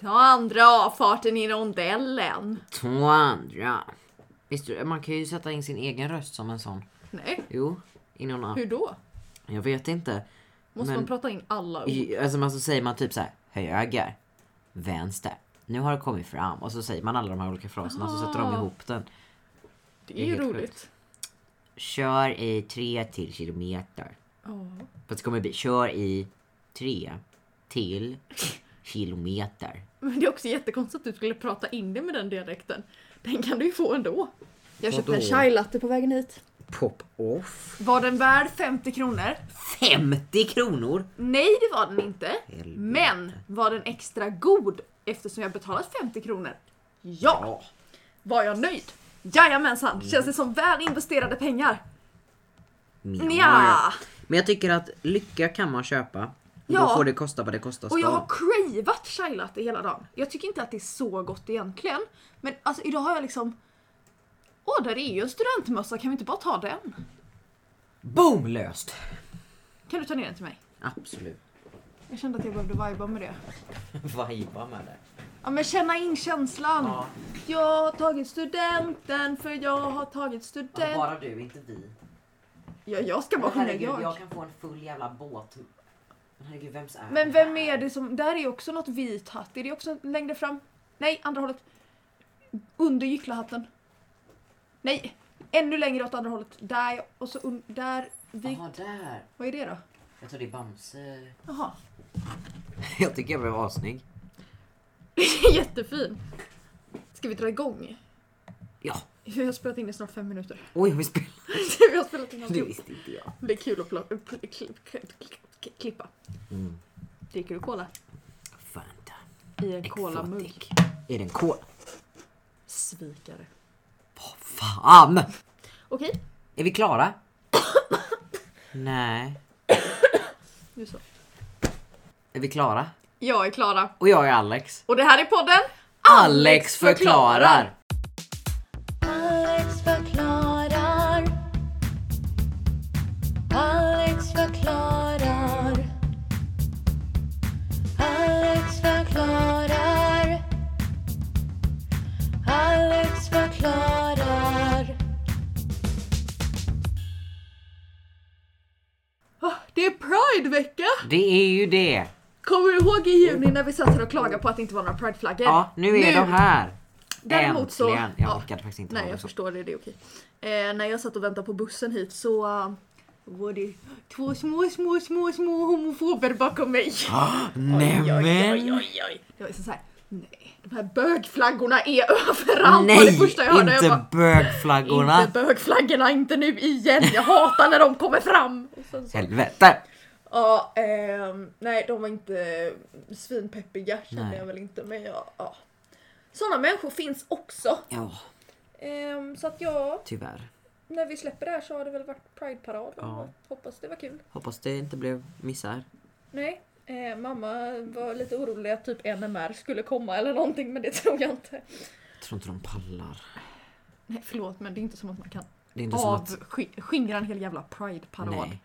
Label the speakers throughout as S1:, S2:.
S1: Ta andra avfarten i rondellen.
S2: Två andra. Visste du, man kan ju sätta in sin egen röst som en sån.
S1: Nej,
S2: Jo, i någon app.
S1: hur då?
S2: Jag vet inte.
S1: Måste
S2: Men-
S1: man prata in alla ord?
S2: I- Alltså, man så säger man typ så här, höger, vänster. Nu har det kommit fram. Och så säger man alla de här olika fraserna och så sätter de
S1: Ah.
S2: ihop den.
S1: Det är ju
S2: helt
S1: roligt.
S2: Kör i tre till kilometer.
S1: Ja.
S2: Fast det kommer bli, kör i tre till kilometer.
S1: Men det är också jättekonstigt att du skulle prata in det med den dialekten. Den kan du ju få ändå. Jag köpte en
S2: Vadå?
S1: chai latte på vägen hit.
S2: Pop off.
S1: Var den värd 50 kronor?
S2: 50 kronor!
S1: Nej, det var den inte.
S2: Helvete.
S1: Men var den extra god eftersom jag betalat 50 kronor? Ja!
S2: Ja. Mm.
S1: Var jag nöjd? Jajamensan! Känns det som väl investerade pengar?
S2: Menar
S1: Nja!
S2: jag. Men jag tycker att lycka kan man köpa. Då
S1: Ja.
S2: får det kosta vad det kostar
S1: Och jag har
S2: ska.
S1: cravat chai latte hela dagen. Jag tycker inte att det är så gott egentligen. Men alltså idag har jag liksom... Åh, där är ju en studentmössa, kan vi inte bara ta den?
S2: Boom löst!
S1: Kan du ta ner den till mig?
S2: Absolut.
S1: Jag kände att jag behövde vibea med det.
S2: Vajba med det.
S1: Ja men känna in känslan.
S2: Ja.
S1: Jag har tagit studenten för jag har tagit studenten.
S2: Bara du, inte vi.
S1: Ja, jag ska bara sjunga jag.
S2: kan få en full jävla båt. Men herregud, vems är
S1: Men vem är det som... Där är också något vit hatt. Är det också längre fram? Nej, andra hållet. Under gycklahatten. Nej, ännu längre åt andra hållet. Där och så un, där. Vi,
S2: där.
S1: Vad är det då?
S2: Jag tror det är Bamse.
S1: Jaha.
S2: jag tycker jag blev assnygg.
S1: Jättefin. Ska vi dra igång?
S2: Ja.
S1: Vi har spelat in i snart fem minuter.
S2: Oj, vi spelar.
S1: vi har spelat in
S2: Det
S1: alltihop.
S2: visste inte jag.
S1: Det är kul att pla- pl- kli- kli- kli- klippa.
S2: Mm.
S1: Dricker du cola?
S2: Fanta.
S1: I en
S2: Exotic.
S1: colamugg.
S2: Är det en kol?
S1: Svikare.
S2: Vad fan!
S1: Okej,
S2: Är vi klara? Nej.
S1: nu så.
S2: Är vi klara?
S1: Jag är Klara.
S2: Och jag är Alex.
S1: Och det här är podden
S2: Alex förklarar!
S3: Alex förklarar. Alex förklarar. Alex förklarar. Alex förklarar.
S1: Ah, Det är Pridevecka!
S2: Det är ju det!
S1: Kommer du ihåg i juni när vi satt här och klagade på att det inte var några prideflaggor?
S2: Ja, nu är de här!
S1: Däremot så-
S2: Äntligen! Jag
S1: ja.
S2: orkade faktiskt inte
S1: Nej
S2: hålla
S1: jag
S2: så.
S1: förstår det, det är okej. Eh, när jag satt och väntade på bussen hit så eh, var det två små, små, små, små homofober bakom mig. Oj, oj,
S2: Ah, Nämen!
S1: oj, oj. Jag var liksom såhär, nej, de här bögflaggorna är överallt! var det
S2: Nej!
S1: första jag hörde. Jag bara,
S2: Inte bögflaggorna!
S1: Inte bögflaggorna, inte nu igen! Jag hatar när de kommer fram! Och sen så,
S2: Helvete!
S1: ja, ehm, nej, de var inte svinpeppiga kände
S2: Nej.
S1: jag väl inte, men jag, ja. Sådana människor finns också.
S2: Ja,
S1: Ehm, så att ja,
S2: tyvärr.
S1: när vi släpper det här så har det väl varit prideparad.
S2: Ja.
S1: Hoppas det var kul.
S2: Hoppas det inte blev missar.
S1: Nej, eh, mamma var lite orolig att typ NMR skulle komma eller någonting, men det tror jag inte.
S2: Jag tror inte de pallar.
S1: Nej, förlåt, men det är inte som att man kan
S2: Det är inte som att...
S1: avskingra en hel jävla prideparad.
S2: Nej.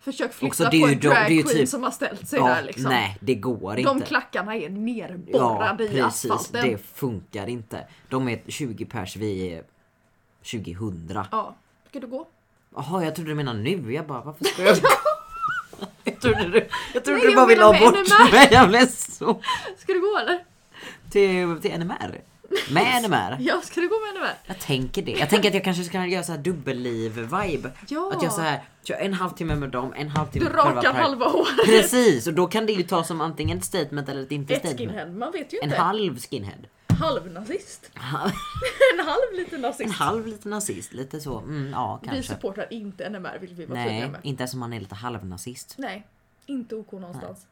S1: Försök
S2: Också,
S1: flytta
S2: det är
S1: på
S2: ju
S1: en
S2: de- det är ju
S1: dragqueen
S2: typ-
S1: som har ställt sig
S2: Ja,
S1: där liksom.
S2: nej, det går inte.
S1: De klackarna är nerborrade i asfalten.
S2: Det funkar inte. De är 20 pers, vi är 2000. Jaha,
S1: Ja. Ska du gå?
S2: jag trodde du menade nu. Jag bara, varför ska jag... jag trodde du, jag trodde
S1: Nej,
S2: du
S1: jag
S2: bara ville ha
S1: menar med
S2: bort
S1: NMR.
S2: mig. Jag blev så...
S1: Ska du gå eller?
S2: Till, till NMR. Med NMR.
S1: Ja, ska du gå med henne med?
S2: Jag tänker det. Jag tänker att jag kanske ska göra så här dubbelliv-vibe.
S1: Ja.
S2: Att jag så här, kör en halvtimme med dem, en halvtimme
S1: Du
S2: med själva
S1: rakar
S2: Pride.
S1: halva håret.
S2: Precis, och då kan det ju ta som antingen ett statement eller ett inte
S1: Ett
S2: statement.
S1: skinhead, man vet ju
S2: En
S1: inte.
S2: halv skinhead.
S1: Halvnazist.
S2: Ha-
S1: en halv liten nazist.
S2: En halv lite nazist, lite så. Mm, ja,
S1: vi
S2: kanske.
S1: supportar inte NMR vill vi vara tydliga
S2: Nej,
S1: med.
S2: inte som man är lite halvnazist.
S1: Nej, inte OK någonstans.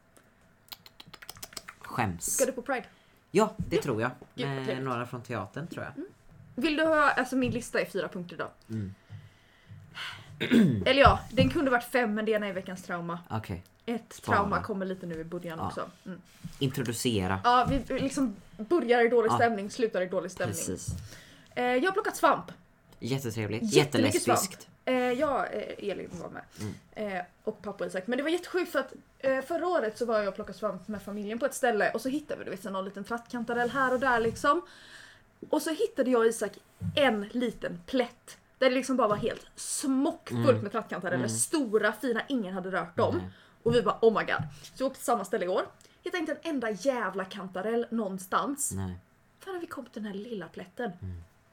S2: Skäms.
S1: Ska du på Pride?
S2: Ja, det tror jag.
S1: Gud, vad
S2: Med
S1: trevligt. Mm.
S2: några från teatern tror jag.
S1: Vill du ha, alltså min lista är fyra punkter idag. Eller ja, den kunde varit fem men det ena är veckans trauma.
S2: Okej.
S1: Ett
S2: Spara.
S1: trauma kommer lite nu i början
S2: Ja.
S1: också. Mm.
S2: Introducera.
S1: Ja, vi vi liksom börjar i dålig
S2: Ja.
S1: stämning, slutar i dålig stämning.
S2: Precis.
S1: Eh, jag har plockat svamp.
S2: Jättetrevligt.
S1: Jättemycket
S2: Jättelesbiskt.
S1: Eh, ja, eh, Elin var med.
S2: Mm.
S1: Eh, och pappa och Isak. Men det var jättesjukt för att eh, förra året så var jag och plockade svamp med familjen på ett ställe och så hittade vi du vet, så någon liten trattkantarell här och där liksom. Och så hittade jag och Isak en liten plätt. Där det liksom bara var helt smockfullt
S2: Mm.
S1: med trattkantareller.
S2: Mm.
S1: Stora, fina, ingen hade rört dem.
S2: Nej.
S1: Och vi bara oh my god. Så vi åkte till samma ställe igår. Hittade inte en enda jävla kantarell någonstans.
S2: Nej.
S1: Förrän vi kom till den här lilla plätten.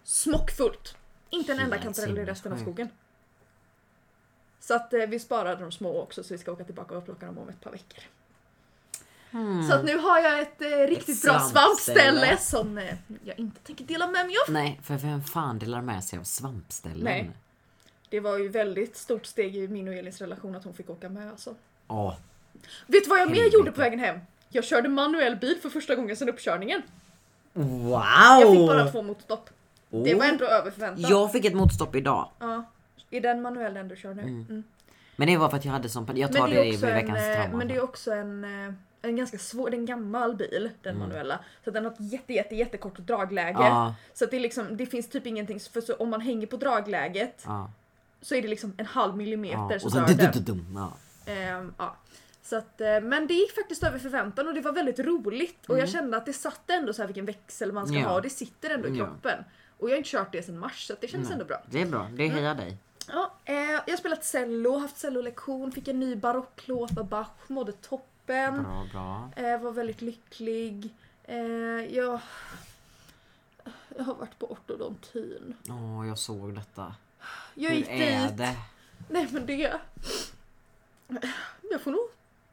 S1: Smockfullt! Inte en enda
S2: Helt
S1: kantarell i resten av
S2: sinnessjukt.
S1: skogen. Så att eh, vi sparade de små också så vi ska åka tillbaka och plocka dem om ett par veckor. Så att nu har jag Hmm. ett eh, riktigt
S2: Ett
S1: bra
S2: svampställe.
S1: svampställe som eh, jag inte tänker dela med mig av.
S2: Nej, för vem fan delar med sig av svampställen?
S1: Nej. Det var ju väldigt stort steg i min och Elins relation att hon fick åka med alltså.
S2: Åh,
S1: Vet du vad jag mer
S2: Helvete.
S1: gjorde på vägen hem? Jag körde manuell bil för första gången sedan uppkörningen.
S2: wow!
S1: Jag fick bara två motstopp. Det
S2: Oh.
S1: var ändå över förväntan. Ja.
S2: Jag fick ett motstopp idag.
S1: Är den manuell den du kör nu? Mm.
S2: Men det var för att jag hade sån panik. Jag tar
S1: Men
S2: det,
S1: det, är
S2: i
S1: också en,
S2: veckans
S1: eh,
S2: trauma.
S1: men det är också en, eh, en ganska svår, det är en gammal bil, den manuella. Så att den har ett jätte, jätte, jättekort dragläge.
S2: Mm. Ja.
S1: Så att det, är liksom, det finns typ ingenting, för så, om man hänger på dragläget
S2: Ja,
S1: så är det liksom en halv millimeter
S2: ja.
S1: så
S2: Och
S1: dör
S2: sen
S1: den.
S2: du-du-du-dum. Ja.
S1: Ehm, ja. Så att, eh, men det gick faktiskt över förväntan och det var väldigt roligt. Och jag kände att det satt ändå så här vilken växel man ska
S2: Mm. Ja.
S1: ha och det sitter ändå i
S2: Ja.
S1: kroppen. Och jag har inte kört det sedan mars så att det kändes ändå bra.
S2: Det är bra, det
S1: Mm.
S2: hejar dig.
S1: Ja, eh, jag har spelat cello, haft cellolektion, fick en ny barocklåt av Bach, mådde toppen,
S2: Bra, bra.
S1: eh, var väldigt lycklig. Eh, jag, jag har varit på ortodontin.
S2: Åh, jag såg detta.
S1: Jag
S2: Hur
S1: gick
S2: är
S1: dit.
S2: det?
S1: Nej men det... Jag får nog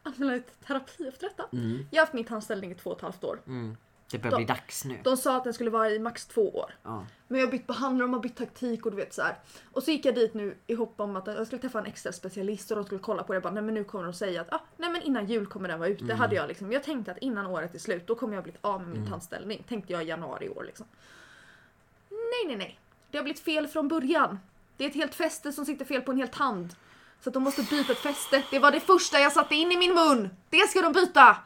S1: anmäla ett terapi efter detta.
S2: Mm,
S1: Jag har haft min tandställning i två och ett halvt år.
S2: mm. Det börjar
S1: Då-
S2: bli dags nu.
S1: De sa att den skulle vara i max två år.
S2: Ja.
S1: Men jag har bytt behandlare, de har bytt taktik och du vet så här. Och så gick jag dit nu i hopp om att jag skulle träffa en extra specialist och de skulle kolla på det. Jag bara, nej men nu kommer de säga att ah, nej men innan jul kommer den vara ute. Hade jag, liksom, jag tänkte att innan året är slut då kommer jag blivit av med min tandställning. Tänkte jag i januari i år liksom. Nej nej nej. Det har blivit fel från början. Det är ett helt fäste som sitter fel på en hel tand. Så att de måste byta ett fäste. Det var det första jag satte in i min mun. Det ska de byta!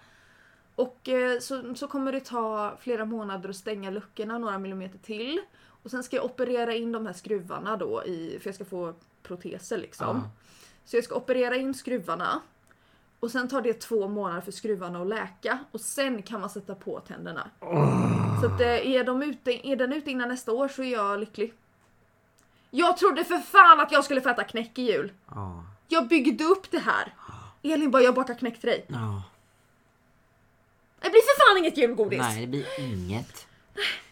S1: Och eh, så, så kommer det ta flera månader att stänga luckorna några millimeter till. Och sen ska jag operera in de här skruvarna då, i, för jag ska få proteser liksom.
S2: Ja.
S1: Så jag ska operera in skruvarna. Och sen tar det två månader för skruvarna att läka och sen kan man sätta på tänderna. Så att, eh, är, de ute, är den ute innan nästa år så är jag lycklig. Jag trodde för fan att jag skulle få äta knäck i jul.
S2: Ja.
S1: Jag byggde upp det här. Elin bara, jag bakar knäck till dig.
S2: Ja.
S1: Det blir för fan inget julgodis!
S2: Nej, det blir inget.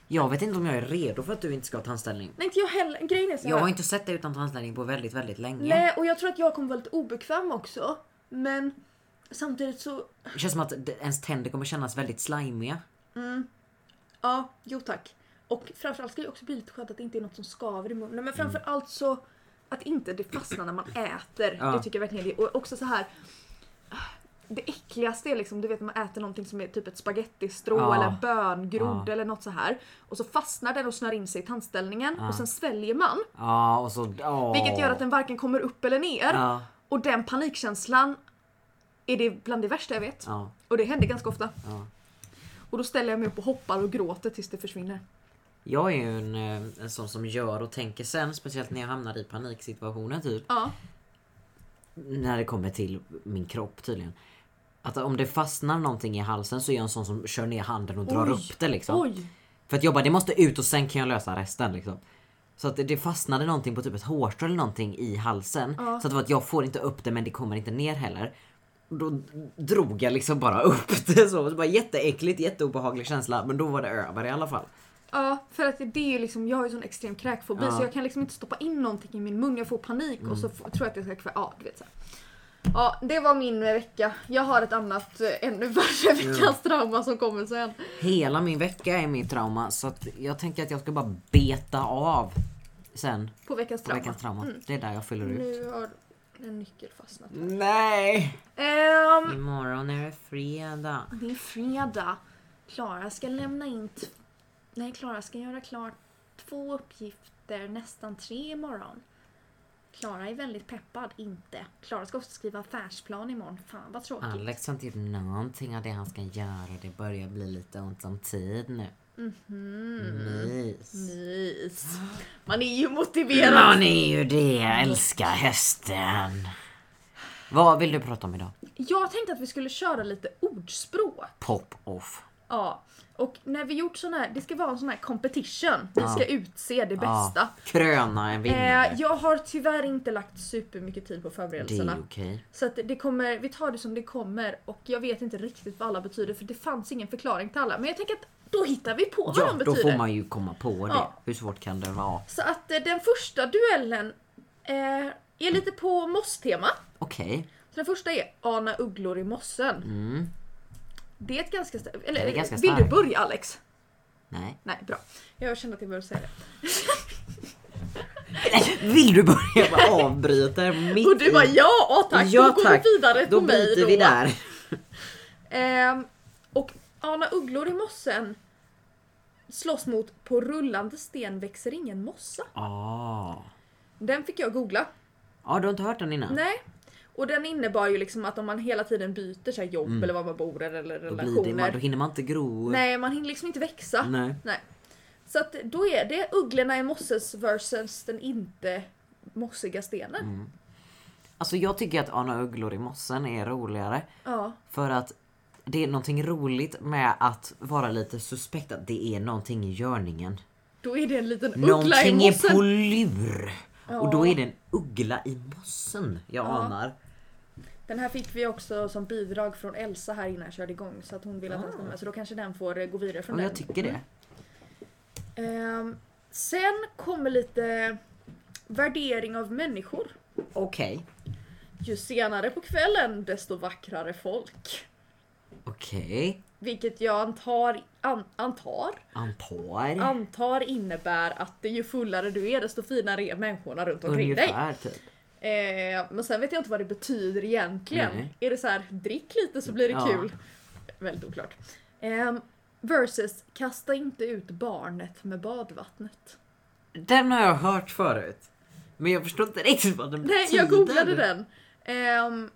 S2: Jag vet inte om jag är redo för att du inte ska ha tandställning.
S1: Nej inte jag heller. Grejen är så
S2: Jag
S1: här.
S2: har inte sett dig utan tandställning på väldigt, väldigt länge.
S1: Nej och jag tror att jag kommer vara lite obekväm också. Men samtidigt så,
S2: Det känns som att d- ens tänder kommer kännas väldigt slimiga.
S1: ja, jo tack. Och framförallt ska jag också bli lite skönt att det inte är något som skaver i munnen.
S2: Mm.
S1: Men framförallt så att inte det fastnar när man äter.
S2: Ja.
S1: Det tycker jag verkligen det är. Och också så här. Det äckligaste är liksom, du vet man äter någonting som är typ ett spagettistrå
S2: Ja.
S1: eller böngrodd
S2: Ja.
S1: eller något så här. Och så fastnar den och snör in sig i tandställningen
S2: Ja.
S1: och sen sväljer man.
S2: Ja, och så... åh.
S1: Vilket gör att den varken kommer upp eller ner.
S2: Ja,
S1: Och den panikkänslan är det bland det värsta jag vet.
S2: ja,
S1: Och det händer ganska ofta.
S2: ja.
S1: Och då ställer jag mig upp och hoppar och gråter tills det försvinner.
S2: Jag är ju en, eh, en sån som gör och tänker sen, speciellt när jag hamnar i paniksituationer typ.
S1: Ja.
S2: När det kommer till min kropp tydligen. Att om det fastnar någonting i halsen så är jag en sån som kör ner handen och drar
S1: Oj.
S2: upp det liksom.
S1: Oj!
S2: För att jag bara, det måste ut och sen kan jag lösa resten liksom. Så att det- det fastnade någonting på typ ett hårstrå eller någonting i halsen.
S1: Ja.
S2: Så att det var att jag får inte upp det men det kommer inte ner heller. Och Då drog jag liksom bara upp det så. Det var jätteäckligt, jätteobehaglig känsla. Men då var det över i alla fall.
S1: Ja, för att det är ju liksom, jag har ju sån extrem kräkfobi
S2: Ja. Mm.
S1: så jag kan liksom inte stoppa in någonting i min mun. Jag får panik och så f- tror jag att jag ska kväva. Ja, du vet så här. Ja, det var min eh, vecka. Jag har ett annat, eh, ännu värre veckans trauma som kommer sen.
S2: Hela min vecka är mitt trauma så att jag tänker att jag ska bara beta av sen
S1: På veckans
S2: på
S1: trauma.
S2: veckans trauma. Mm. Det är där jag fyller ut.
S1: Nu har en nyckel fastnat.
S2: Nej!
S1: Ehm,
S2: Imorgon är det fredag.
S1: Det är fredag. Klara ska lämna in... T- Nej, Klara ska göra klart två uppgifter, nästan tre imorgon. Klara är väldigt peppad, inte. Klara ska också skriva affärsplan imorgon. Fan
S2: Ah.
S1: vad tråkigt.
S2: Alex har inte gjort någonting av det han ska göra. Det börjar bli lite ont om tid nu.
S1: Mm-hmm.
S2: Nice.
S1: Nice. Man är ju motiverad.
S2: Man är ju det, jag älskar hästen. Vad vill du prata om idag?
S1: Jag tänkte att vi skulle köra lite ordspråk.
S2: Pop-off.
S1: Ja. Och när vi gjort sån här, det ska vara en sån här competition. Vi
S2: Ja.
S1: ska utse det
S2: Ja,
S1: bästa.
S2: kröna en vinnare.
S1: Eh, jag har tyvärr inte lagt supermycket tid på
S2: det är
S1: förberedelserna.
S2: okej.
S1: Så att det kommer, vi tar det som det kommer och jag vet inte riktigt vad alla betyder för det fanns ingen förklaring till alla. Men jag tänker att då hittar vi på vad
S2: Ja,
S1: de
S2: då
S1: betyder.
S2: får man ju komma på det.
S1: Ja.
S2: Hur svårt kan det vara?
S1: Så att eh, den första duellen eh, är lite på mosstema.
S2: Okej.
S1: Så den första är Ana ugglor i mossen. Det är ett ganska starkt... Eller
S2: Mm. Det är ganska
S1: vill du
S2: starkt.
S1: börja Alex?
S2: Nej.
S1: Nej, bra. Jag kände att jag behövde säga det.
S2: Vill du börja bara avbryta mitt
S1: Och du
S2: i-
S1: bara ja, åh, tack!
S2: Ja,
S1: då går
S2: tack.
S1: vi vidare
S2: Då
S1: på mig
S2: byter vi där.
S1: Ehm, och Ana ugglor i mossen slåss mot På rullande sten växer ingen mossa.
S2: Ah.
S1: Den fick jag googla.
S2: Ja, du har inte hört den innan?
S1: Nej. Och den innebar ju liksom att om man hela tiden byter så här jobb eller var man bor eller, eller
S2: Mm. Då, blir det, man, då
S1: relationer.
S2: hinner man inte gro.
S1: Nej, man hinner liksom inte växa.
S2: Nej.
S1: Så att då är det ugglorna i mosses versus den inte mossiga stenen.
S2: Mm. Alltså jag tycker att Ana Ugglor i mossen är roligare.
S1: Ja.
S2: För att det är någonting roligt med att vara lite suspekt att det är någonting i görningen.
S1: Då är det en liten uggla i
S2: Någonting är
S1: mossen.
S2: på lur. Och då
S1: Ja.
S2: är det en uggla i mossen jag
S1: Ja.
S2: anar.
S1: Den här fick vi också som bidrag från Elsa här innan jag körde igång så att hon vill att den ska med. Så då kanske den får eh, gå vidare från
S2: Och Ah. jag
S1: den.
S2: tycker det.
S1: Ehm, sen kommer lite värdering av människor.
S2: Okej.
S1: Ju senare på kvällen desto vackrare folk.
S2: Okej.
S1: Vilket jag antar, an, antar,
S2: Antar.
S1: antar innebär att det ju fullare du är desto finare är människorna runt omkring dig.
S2: Ungefär typ.
S1: Eh, men sen vet jag inte vad det betyder egentligen.
S2: Nej.
S1: Är det så här, drick lite så blir det
S2: Ja.
S1: kul? Väldigt oklart. Eh, versus, kasta inte ut barnet med badvattnet.
S2: Den har jag hört förut. Men jag förstår inte riktigt vad den
S1: Nej, jag
S2: betyder.
S1: googlade den. Eh,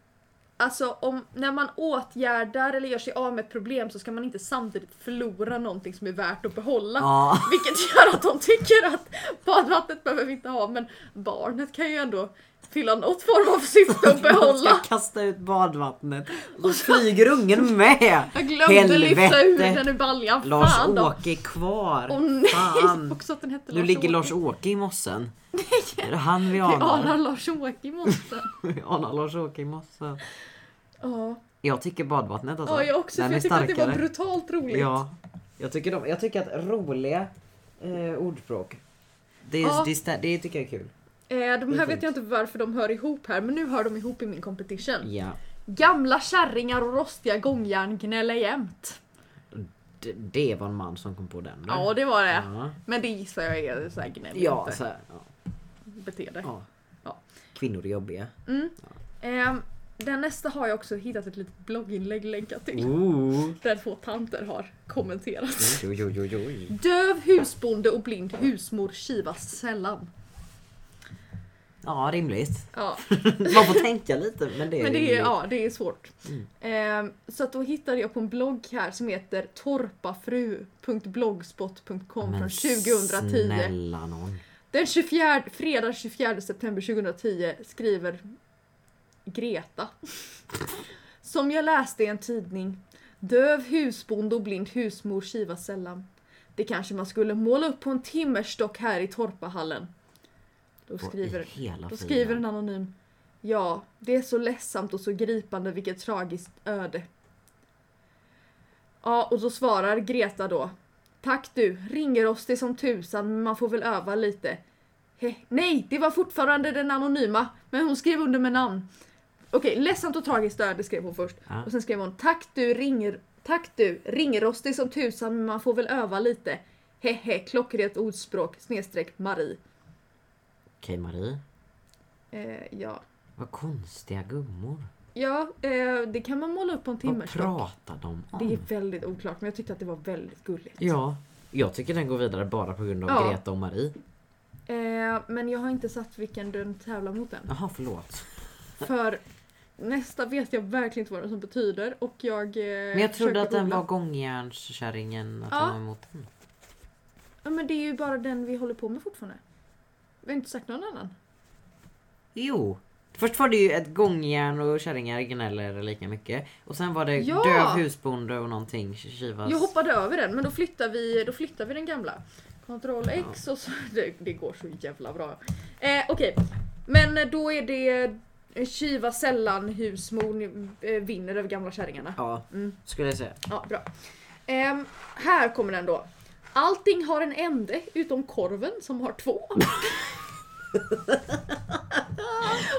S1: alltså, om, när man åtgärdar eller gör sig av med ett problem så ska man inte samtidigt förlora någonting som är värt att behålla.
S2: Ja.
S1: Vilket gör att de tycker att badvattnet behöver vi inte ha men barnet kan ju ändå fylla något form av syfte att
S2: Man
S1: behålla.
S2: ska kasta ut badvattnet. Och så flyger ungen med.
S1: Jag glömde lyfta ur den ur baljan. Fan då.
S2: Lars-Åke är kvar.
S1: Åh nej!
S2: Fan.
S1: Också att den hette
S2: Nu ligger
S1: Lars-Åke.
S2: Lars-Åke i mossen. Är det han vi
S1: Vi anar
S2: anar?
S1: Lars-Åke i morse.
S2: Vi anar Lars-Åke i mossen.
S1: Ja,
S2: Jag tycker badvattnet alltså.
S1: Ja, jag också.
S2: Den
S1: för
S2: är
S1: jag tyckte att det var
S2: starkare.
S1: brutalt roligt.
S2: Ja. Jag tycker, de, jag tycker att roliga eh, ordspråk. Det,
S1: Ja.
S2: det, stä- det tycker jag är kul.
S1: Eh, de
S2: Det är
S1: här vet jag inte varför de hör ihop här, men nu hör de ihop i min competition.
S2: Ja.
S1: Gamla kärringar och rostiga gångjärn gnäller jämt.
S2: Det, det var en man som kom på den. där.
S1: Ja, det var det.
S2: Ja.
S1: Men det gissar jag är såhär gnäll
S2: Ja,
S1: inte
S2: så här, ja.
S1: beteende.
S2: Ja.
S1: Ja.
S2: Kvinnor är jobbiga.
S1: Ehm, den nästa har jag också hittat ett litet blogginlägg länkat
S2: Mm.
S1: till.
S2: Ooh.
S1: Där två tanter har kommenterat.
S2: Jo, jo, jo, jo, jo.
S1: Döv husbonde och blind husmor kivas sällan.
S2: Ja, rimligt.
S1: Ja,
S2: Man får tänka lite men det är
S1: men det är,
S2: rimligt. Mm.
S1: ja, det är svårt. Ehm, så att då hittade jag på en blogg här som heter torpafru.blogspot.com
S2: Men
S1: från 2010.
S2: snälla nån.
S1: Den 24, fredag 24 september 2010 skriver Greta. Som jag läste i en tidning. Döv husbonde och blind husmor kivas sällan. Det kanske man skulle måla upp på en timmerstock här i Torpahallen. Då
S2: Vad i
S1: skriver,
S2: hela
S1: då
S2: friden?
S1: skriver en anonym. Ja, det är så ledsamt och så gripande vilket tragiskt öde. Ja, och då svarar Greta då. Tack du, ringrostig som tusan men man får väl öva lite. He, nej, det var fortfarande den anonyma, men hon skrev under med namn. Okej, ledsamt och tragiskt öde skrev hon först.
S2: Ja.
S1: Och sen skrev hon tack du, ringer, tack du, ringrostig som tusan men man får väl öva lite. Hehe, klockrent ordspråk, snedstreck Marie.
S2: Okej Marie.
S1: Eh, ja,
S2: Vad konstiga gummor.
S1: ja eh, det kan man måla upp på en
S2: Vad
S1: timmerstock.
S2: pratar de om?
S1: Det är väldigt oklart men jag tyckte att det var väldigt gulligt.
S2: Ja. Jag tycker den går vidare bara på grund av
S1: Ja.
S2: Greta och Marie.
S1: Eh, men jag har inte satt vilken den tävlar mot än.
S2: Jaha,
S1: Eh,
S2: förlåt.
S1: För nästa vet jag verkligen inte vad den som betyder och jag eh,
S2: Men jag trodde
S1: försöker
S2: att den
S1: googla.
S2: var gångjärnskärringen. Att
S1: Ja.
S2: den var emot den.
S1: Ja, men det är ju bara den vi håller på med fortfarande. Vi har inte sagt någon annan.
S2: Jo. Först var det ju ett gångjärn och kärringar gnäller lika mycket. Och sen var det
S1: Ja!
S2: döv husbonde och någonting Kivas.
S1: Jag hoppade över den men då flyttar vi, då flyttar vi den gamla. Ctrl X och så... Det, det går så jävla bra. Eh, Okej, men då är det Kiva sällan husmor eh, vinner över gamla kärringarna.
S2: Ja,
S1: Mm.
S2: skulle jag säga.
S1: Ja, bra. Ehm, här kommer den då. Allting har en ände utom korven som har två.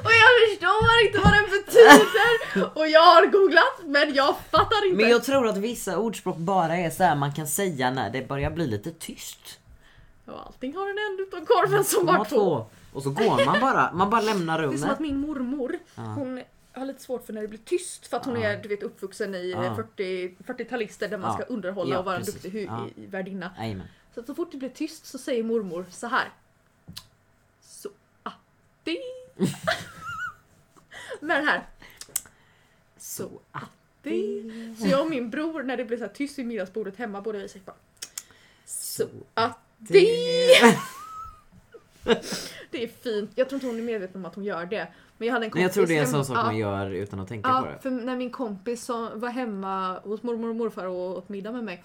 S1: och jag förstår inte vad den betyder och jag har googlat men jag fattar inte.
S2: Men jag tror att vissa ordspråk bara är så här man kan säga när det börjar bli lite tyst.
S1: Ja, allting har en ände utom korven som
S2: De
S1: har
S2: har
S1: två.
S2: Och så går man bara, man bara lämnar
S1: Det är som
S2: rummet.
S1: att min mormor,
S2: Ja.
S1: hon har lite svårt för när det blir tyst för att hon
S2: Ja.
S1: är du vet, uppvuxen i
S2: Ja.
S1: 40 40-talister där man
S2: Ja.
S1: ska underhålla
S2: Ja,
S1: och vara en
S2: precis.
S1: duktig hu-
S2: Ja.
S1: i- värdinna.
S2: Jajamän.
S1: Så, att så fort det blir tyst så säger mormor så här. Så ah, att det... Med den här. Så att det... Så jag och min bror när det blir så här tyst vid middagsbordet hemma båda vi säger bara ah, Så att det... Det är fint. Jag tror inte hon är medveten om att hon gör det. Men jag hade en
S2: Men
S1: kompis
S2: jag tror det är en sån
S1: hemma-
S2: sak
S1: Ja.
S2: man gör utan att tänka på
S1: Ja,
S2: det.
S1: för när min kompis som var hemma hos mormor och morfar och åt middag med mig.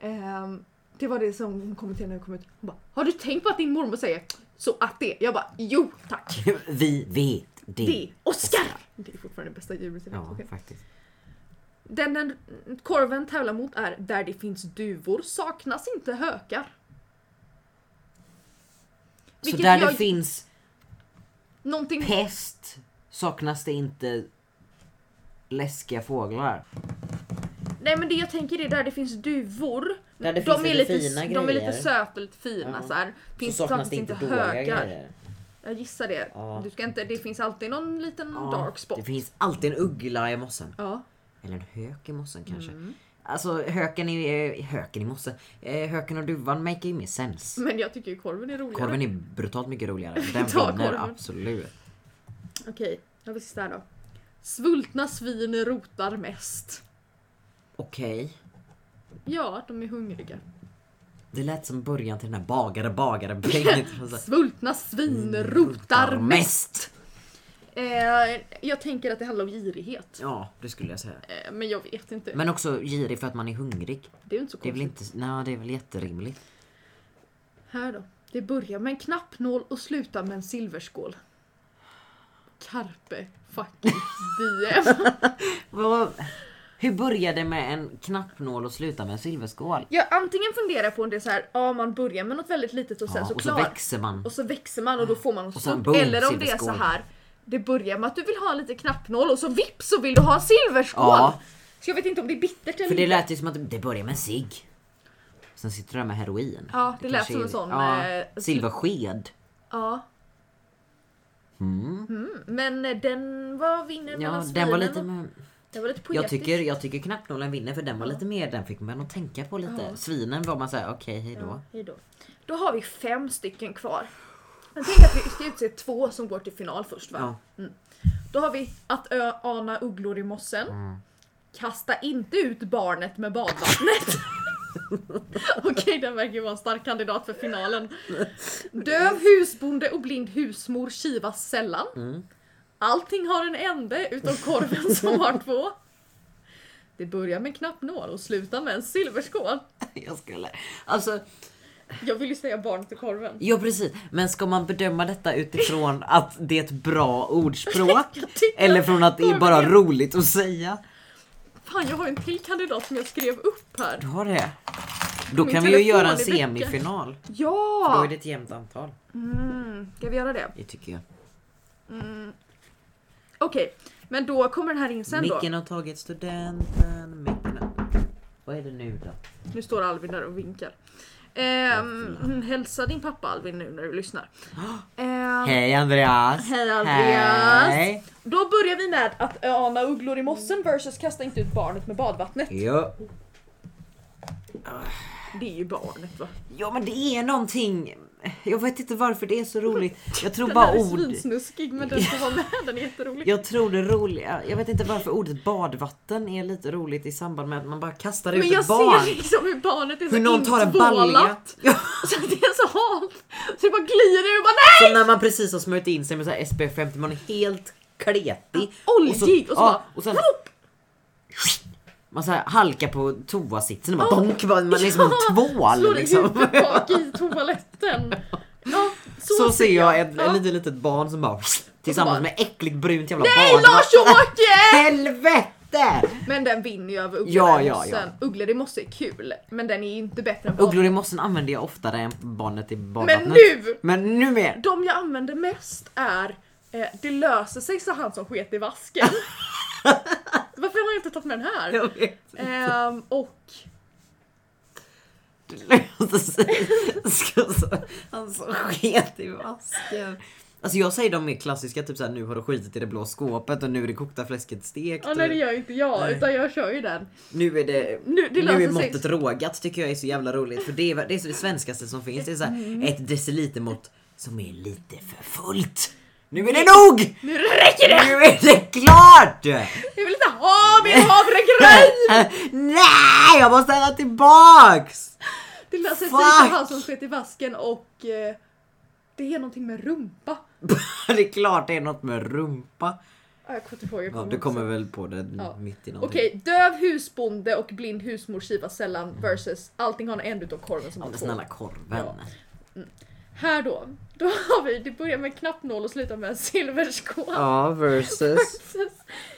S2: Mm.
S1: ehm, det var det som hon kom till när jag kom ut. Hon bara, har du tänkt på att din mormor säger så att det? Jag bara, jo tack.
S2: Vi vet det.
S1: Det. Oscar! Det är fortfarande det bästa djuret jag vet.
S2: Ja,
S1: Okej.
S2: faktiskt.
S1: Den den korven tävlar mot är där det finns duvor saknas inte hökar.
S2: Så
S1: Vilket
S2: där det
S1: jag-
S2: finns
S1: Någonting...
S2: pest saknas det inte läskiga fåglar.
S1: Nej men det jag tänker är där det finns duvor.
S2: Där det
S1: de,
S2: finns
S1: är
S2: lite fina
S1: de är
S2: grejer.
S1: lite söta, lite fina
S2: Ja.
S1: så här. Finns
S2: så saknas det inte dåliga grejer.
S1: Jag gissar det.
S2: Ja.
S1: Du ska inte, det finns alltid någon liten dark spot.
S2: Det finns alltid en uggla i mossen.
S1: Ja.
S2: Eller en hök i mossen kanske.
S1: Mm.
S2: Alltså höken i, eh, höken i mossen. Eh, höken och duvan make ju mer sens.
S1: Men jag tycker ju korven är roligare.
S2: Korven är brutalt mycket roligare. Den
S1: Ta
S2: vinner
S1: korven.
S2: absolut.
S1: Okej, då har vi sista här då. Svultna svin rotar mest.
S2: Okej.
S1: Ja, de är hungriga.
S2: Det lät som början till den här bagare bagare Bengt.
S1: Svultna svin rotar mest.
S2: Mm, mest.
S1: Eh, jag tänker att det handlar om girighet.
S2: Ja, det skulle jag säga.
S1: Eh, men jag vet inte.
S2: Men också girig för att man är hungrig.
S1: det är ju inte så
S2: Det är
S1: konstigt.
S2: väl inte... Nej, det är väl jätterimligt.
S1: Här då. Det börjar med en knappnål och slutar med en silverskål. Carpe fucking diem.
S2: Vad- Hur började det med en knappnål och slutar med en silverskål?
S1: Ja, antingen funderar jag på om det är så här, ja man börjar med något väldigt litet och sen
S2: Ja,
S1: så
S2: och så
S1: klar.
S2: växer man.
S1: och så växer man och då får man något
S2: Och sen
S1: stort.
S2: boom,
S1: Eller om det är så
S2: silverskål.
S1: här, det börjar med att du vill ha en liten knappnål och så vips så vill du ha en silverskål.
S2: Ja.
S1: Så jag vet inte om det är bittert eller
S2: För det
S1: inte.
S2: lät ju som att det börjar med en cigg. Sen sitter du där med heroin.
S1: Ja, det lät som en
S2: kanske är-
S1: sån, eh,
S2: Ja, silversked.
S1: Ja. Mm, Men eh, den var vinnaren mellan
S2: Ja, den
S1: svinen
S2: var lite...
S1: och-
S2: mer-
S1: den var lite poetisk.
S2: Jag tycker, jag tycker knappnålen vinner för den var lite mer, den fick man att tänka på lite.
S1: Ja.
S2: Svinen var man såhär, okej hejdå.
S1: Ja, hejdå. Då har vi fem stycken kvar. Jag tänker att vi ska utse typ två som går till final först va?
S2: Ja.
S1: Då har vi att ö, ana ugglor i mossen. Kasta inte ut barnet med badvattnet. Okej, den verkar ju vara en stark kandidat för finalen. Döv husbonde och blind husmor kivas sällan. Allting har en ände utom korven som har två. Det börjar med en knappnål och slutar med en silverskål.
S2: Jag skulle... Alltså,
S1: Jag vill ju säga barnet och korven.
S2: ja precis. Men ska man bedöma detta utifrån att det är ett bra ordspråk?
S1: Jag tycker-
S2: eller från att det är bara roligt att säga?
S1: Fan, jag har en till kandidat som jag skrev upp här.
S2: Du har det? Då
S1: Min
S2: kan vi ju
S1: telefon
S2: göra en
S1: är väcka.
S2: semifinal. Då är
S1: Ja!
S2: det ett jämnt antal.
S1: Mm, ska vi göra det?
S2: Det tycker jag.
S1: Okej, men då kommer den här in sen då.
S2: Micken har tagit studenten, micken har... Vad är det nu då?
S1: Nu står Alvin där och vinkar. Ehm, mm, hälsa din pappa Alvin nu när du lyssnar. Ehm,
S2: Hej Andreas!
S1: Hej Andreas!
S2: Hej!
S1: Då börjar vi med att ana ugglor i mossen versus kasta inte ut barnet med badvattnet.
S2: Jo.
S1: Det är ju barnet va?
S2: Ja men det är någonting Jag vet inte varför det är så roligt. Jag tror
S1: Den
S2: bara
S1: här är
S2: ord.
S1: svinsnuskig men den som var med den är jätterolig.
S2: Jag tror det roliga, jag vet inte varför ordet badvatten är lite roligt i samband med att man bara kastar ut
S1: men jag
S2: ett barn.
S1: ser liksom hur barnet är så
S2: Hur någon tar en balja.
S1: intvålat.
S2: Ja,
S1: Så att det är så halt. Så det bara glider ur. Bara, nej!
S2: som när man precis har smörjt in sig med så här SPF 50, man är helt kletig.
S1: Oljig och så bara-
S2: och sen, Man så här halkar på toasitsen och bara donk, man är som en tvål
S1: Slår i
S2: liksom.
S1: huvudet bak i toaletten. Ja, så,
S2: Så ser jag ett,
S1: Ja.
S2: ett litet, litet barn som bara tillsammans
S1: bara-
S2: med äckligt brunt jävla
S1: Nej
S2: barn.
S1: Lars-Åke!
S2: Helvete!
S1: Men den vinner ju över Ugglor
S2: Ja,
S1: i
S2: ja,
S1: mossen. Ugglor i mossen är kul, men den är ju inte bättre än
S2: Ugglor i mossen använder jag oftare än barnet i badvattnet.
S1: Men nu!
S2: Men nu mer!
S1: De jag använder mest är eh, Det löser sig sa han som sket i vasken. Varför har jag inte tagit med den här?
S2: Jag vet.
S1: Ehm, och
S2: Det löser sig. Ska så- Han som sket i vasken. Alltså jag säger de mer klassiska, typ såhär nu har du skitit i det blå skåpet och nu är det kokta fläsket stekt.
S1: ja, nej det
S2: och
S1: gör ju inte jag
S2: Nej.
S1: utan jag kör ju den.
S2: Nu är det,
S1: Nu-
S2: nu,
S1: det löser sig.
S2: är måttet rågat tycker jag är så jävla roligt för det är det, är så det svenskaste som finns. Det är såhär
S1: Mm.
S2: ett decilitermått som är lite för fullt. Nu är det nog!
S1: Nu räcker det!
S2: Nu är det klart!
S1: Jag vill inte ha mer havregryn!
S2: Nej, jag måste äta tillbaks!
S1: Det alltså, löser sig
S2: Fuck!
S1: sa han som sket i vasken och eh, det är någonting med rumpa.
S2: det är klart det är något med rumpa.
S1: Ah, Jag kommer inte ihåg, jag
S2: Ja,
S1: kommer
S2: du
S1: inte
S2: kommer
S1: ihåg.
S2: väl på det
S1: Ja.
S2: mitt i någonting.
S1: Okej, döv husbonde och blind husmor kivas sällan versus allting har en utom korven som
S2: Mm. Ja,
S1: har
S2: men
S1: två.
S2: snälla korven.
S1: Ja. Här då, då har vi, det börjar med en knappnål och slutar med en silverskål.
S2: Ja, versus.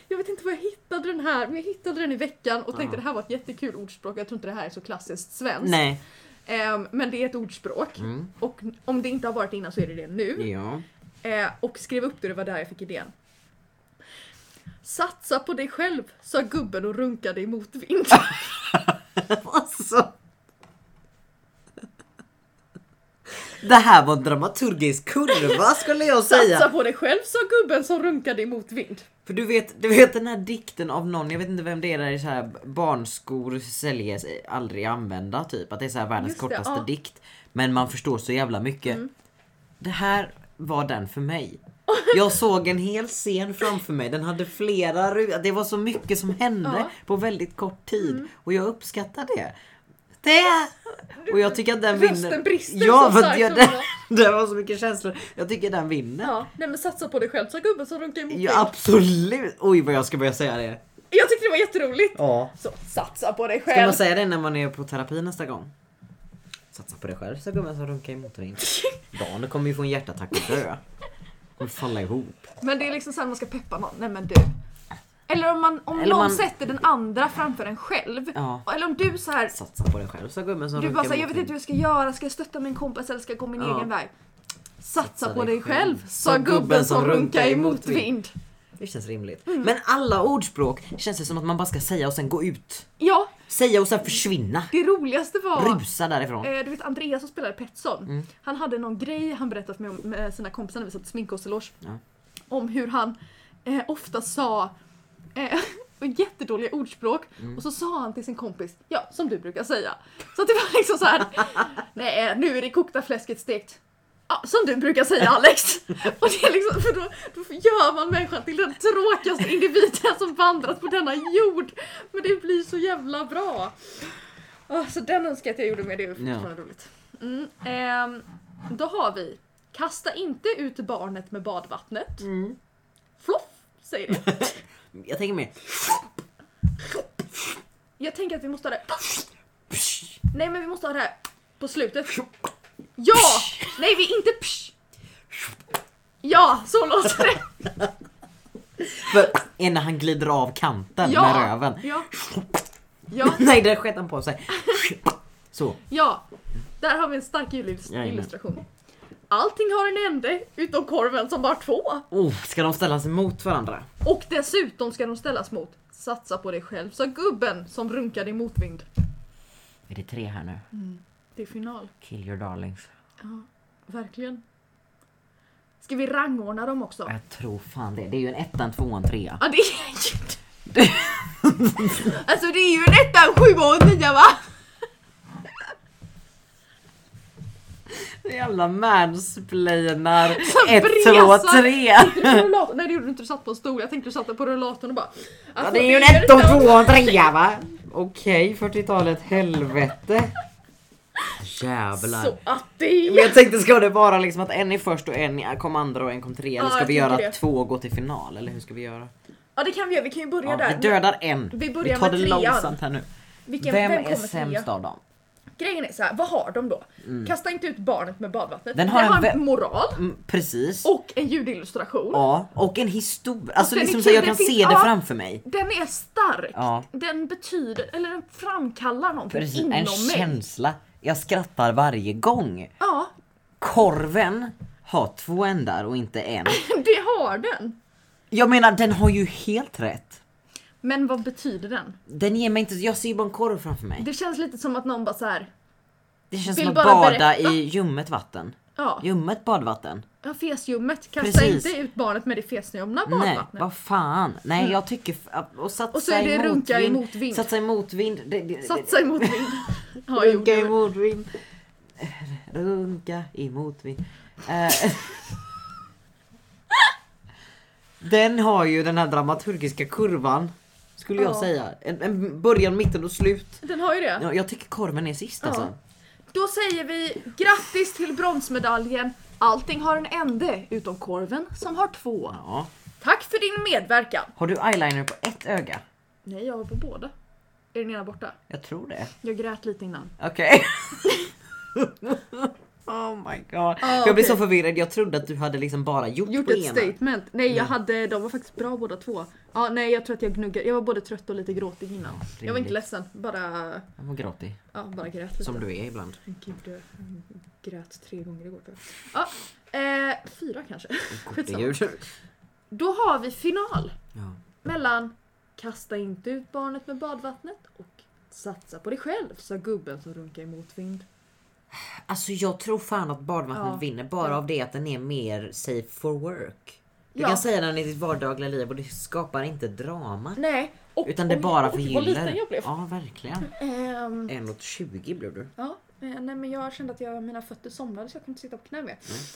S1: Jag vet inte var jag hittade den här, men jag hittade den i veckan och tänkte
S2: Ja.
S1: det här var ett jättekul ordspråk. Jag tror inte det här är så klassiskt svenskt.
S2: Nej.
S1: Ehm, men det är ett ordspråk.
S2: Mm.
S1: Och om det inte har varit innan så är det det nu.
S2: Ja.
S1: Eh, och skrev upp det, det var där jag fick idén. Satsa på dig själv, sa gubben och runkade i motvind.
S2: Alltså. Det här var en dramaturgisk kurva skulle jag
S1: Satsa
S2: säga.
S1: på dig själv, sa gubben som runkade i motvind.
S2: För du vet, du vet den här dikten av någon, jag vet inte vem det är, där det är så här barnskor säljes eh, aldrig använda typ. Att det är så här världens
S1: Just det,
S2: kortaste
S1: ja. Mm.
S2: dikt. Men man förstår så jävla mycket. Det här var den för mig. Jag såg en hel scen framför mig, den hade flera rutor, det var så mycket som hände
S1: Ja. Mm.
S2: på väldigt kort tid. Och jag uppskattar det. Det! Och jag tycker att den vinner.
S1: Rösten brister
S2: ja,
S1: så
S2: för att
S1: starkt
S2: jag,
S1: och bra.
S2: det, det var så mycket känslor. Jag tycker den vinner. Ja.
S1: Ja, nej men satsa på dig själv, sa gubben som runkade i motvind.
S2: absolut! Oj vad jag ska börja säga det.
S1: Jag tyckte det var jätteroligt.
S2: Ja.
S1: Så satsa på dig
S2: Ska
S1: själv.
S2: man säga det när man är på terapi nästa gång? Satsa på dig själv sa gubben som runkade i motorn. Dan kommer ju få en hjärtattack och dö. Kommer falla ihop.
S4: Men det är liksom såhär man ska peppa någon. Nej men du. Eller om, man, om
S2: Eller
S4: någon
S2: man-
S4: sätter den andra framför en själv.
S2: Ja.
S4: Eller om du så här
S2: Satsa på dig själv sa gubben som
S4: Du bara
S1: alltså,
S2: runkade
S4: såhär,
S2: i
S4: jag vet inte hur
S2: motorn.
S4: jag ska göra, ska jag stötta min kompis eller ska jag gå min
S2: Ja.
S4: egen väg? Satsa, på dig själv, sa gubben som runkar i motvind.
S2: Det känns rimligt.
S4: Mm.
S2: Men alla ordspråk känns det som att man bara ska säga och sen gå ut.
S4: Ja,
S2: Säga och sen försvinna.
S4: det roligaste var
S2: Rusa därifrån.
S1: Eh, Du vet Andreas som spelade Petson,
S4: Mm.
S1: han hade någon grej han berättade för mig om med sina kompisar när vi satt i sminkhårseloge.
S2: Ja.
S1: Om hur han eh, ofta sa eh, jättedåliga ordspråk
S4: Mm.
S1: och så sa han till sin kompis, ja som du brukar säga. Så att det var liksom så här. nej nu är det kokta fläsket stekt. Ja, som du brukar säga Alex! Och det är liksom, för då, då gör man människan till den tråkigaste individen som vandrat på denna jord. Men det blir så jävla bra! Åh, så den önskar jag att jag gjorde med, det är fortfarande roligt. Mm, ehm, då har vi Kasta inte ut barnet med badvattnet. Floff, säger det.
S2: Jag tänker mer.
S1: Jag tänker att vi måste ha det Nej men vi måste ha det här på slutet. Ja! Nej vi inte psh. Ja, så låter det.
S2: För är när han glider av kanten
S1: Ja.
S2: med röven.
S1: Ja. Ja.
S2: Nej, där sket han på sig. Så.
S1: Ja, där har vi en stark illus-
S2: Jajamän.
S1: illustration. Allting har en ände utom korven som bara har två.
S2: Oh, ska de ställas emot varandra?
S1: Och dessutom ska de ställas mot Satsa på dig själv, sa gubben som runkade i motvind.
S2: Är det tre här nu?
S4: Mm.
S1: Det är final.
S2: Kill your darlings.
S1: Ja, verkligen. Ska vi rangordna dem också?
S2: Jag tror fan det. Det är ju en etta, en tvåa, en trea.
S1: Ja, det är ju... alltså det är ju en etta, en sjua och en nia va?
S2: Jävla mansplainar. Ett, två,
S1: bresar.
S2: tre.
S1: På rullatorn- Nej det gjorde du inte, du satt på en stol. Jag tänkte du satt där på rullatorn och bara...
S2: Ja,
S1: alltså,
S2: det är ju
S1: det
S2: en ett och två och trea va? Okej, 40-talet, helvete. Jävlar.
S1: Så att det...
S2: Men jag tänkte ska det vara liksom att en är först och en kom andra och en kom trea? Eller
S1: Ja,
S2: ska
S1: jag
S2: vi
S1: tänker
S2: göra
S1: det.
S2: att två går till final? Eller hur ska vi göra?
S1: Ja det kan vi göra, vi kan ju börja
S2: Ja,
S1: där.
S2: vi dödar en.
S1: vi börjar
S2: tar
S1: med
S2: det
S1: trean.
S2: långsamt här nu.
S1: Vilken,
S2: Vem,
S1: vem
S2: är
S1: kommer trea?
S2: sämst av dem?
S1: Grejen är så här, vad har de då? Kasta inte ut barnet med badvattnet.
S2: Den har en vä-
S1: moral
S2: Mm, precis.
S1: och en ljudillustration.
S2: Ja, och en historia. Alltså
S1: den är
S2: liksom
S1: kul,
S2: så jag
S1: det
S2: kan
S1: finns-
S2: se det
S1: ja.
S2: framför mig.
S1: Den är stark.
S2: Ja.
S1: Den betyder, eller den framkallar någonting
S2: Precis,
S1: inom
S2: en
S1: mig.
S2: känsla. Jag skrattar varje gång.
S1: Ja,
S2: Korven har två ändar och inte en.
S1: det har den.
S2: Jag menar den har ju helt rätt.
S1: Men vad betyder den?
S2: Den ger mig inte, jag ser ju bara en korv framför mig.
S1: Det känns lite som att någon bara så här.
S2: Det känns
S1: Vill
S2: som att
S1: bara
S2: bada
S1: berätta.
S2: i ljummet vatten.
S1: ja,
S2: Ljummet badvatten.
S1: ja fesljummet. Kasta
S2: Precis.
S1: inte ut barnet med det fesljumna
S2: Nej,
S1: badvattnet.
S2: vad fan. Nej jag tycker... f- Och satsa
S1: Och så är det
S2: i
S1: runka i
S2: motvind.
S1: motvind.
S2: Satsa i motvind. Det, det,
S1: Satsa emot vind. Ja, jo,
S2: Runka
S1: det
S2: i
S1: är-
S2: motvind. Eh, Runka i motvind. Eh. Den har ju den här dramaturgiska kurvan. Skulle jag
S1: Ja.
S2: säga. En, en början, mitten och slut.
S1: den har ju det.
S2: Ja, Jag tycker korven är sist
S1: Ja.
S2: alltså.
S1: Då säger vi grattis till bronsmedaljen. Allting har en ände utom korven som har två.
S2: Ja.
S1: Tack för din medverkan.
S2: Har du eyeliner på ett öga?
S1: Nej, jag var på båda. Är den ena borta?
S2: Jag tror det.
S1: Jag grät lite innan.
S2: Okej. oh my god. jag blir så
S1: Ah, okej.
S2: förvirrad. Jag trodde att du hade liksom bara gjort,
S1: Gjort
S2: på
S1: ett
S2: ena.
S1: statement. Nej, jag hade, de var faktiskt bra båda två. Ja, nej, jag tror att jag gnuggade. Jag var både trött och lite gråtig innan. jag var
S2: rimligt.
S1: inte ledsen, bara,
S2: Jag var gråtig.
S1: ja, bara grät lite.
S2: Som du är ibland.
S1: Gud, jag grät tre gånger igår. tror jag. Ja, eh, fyra kanske. Skitsamma.
S2: Gud.
S1: Då har vi final
S2: Ja.
S1: mellan kasta inte ut barnet med badvattnet och satsa på dig själv, sa gubben som runkade i motvind.
S2: Alltså jag tror fan att badvattnet
S1: Ja.
S2: vinner bara av det att den är mer safe for work. Du
S1: Ja.
S2: kan säga den i ditt vardagliga liv och det skapar inte drama.
S1: Nej, och,
S2: Utan det
S1: oj,
S2: bara
S1: oj, vad
S2: förgyller.
S1: liten jag blev.
S2: Ja verkligen.
S1: Ehm,
S2: 1,20 blev du.
S1: Ja, eh, nej men jag kände att jag, mina fötter somnade så jag kunde inte sitta på knä mer.
S2: Mm.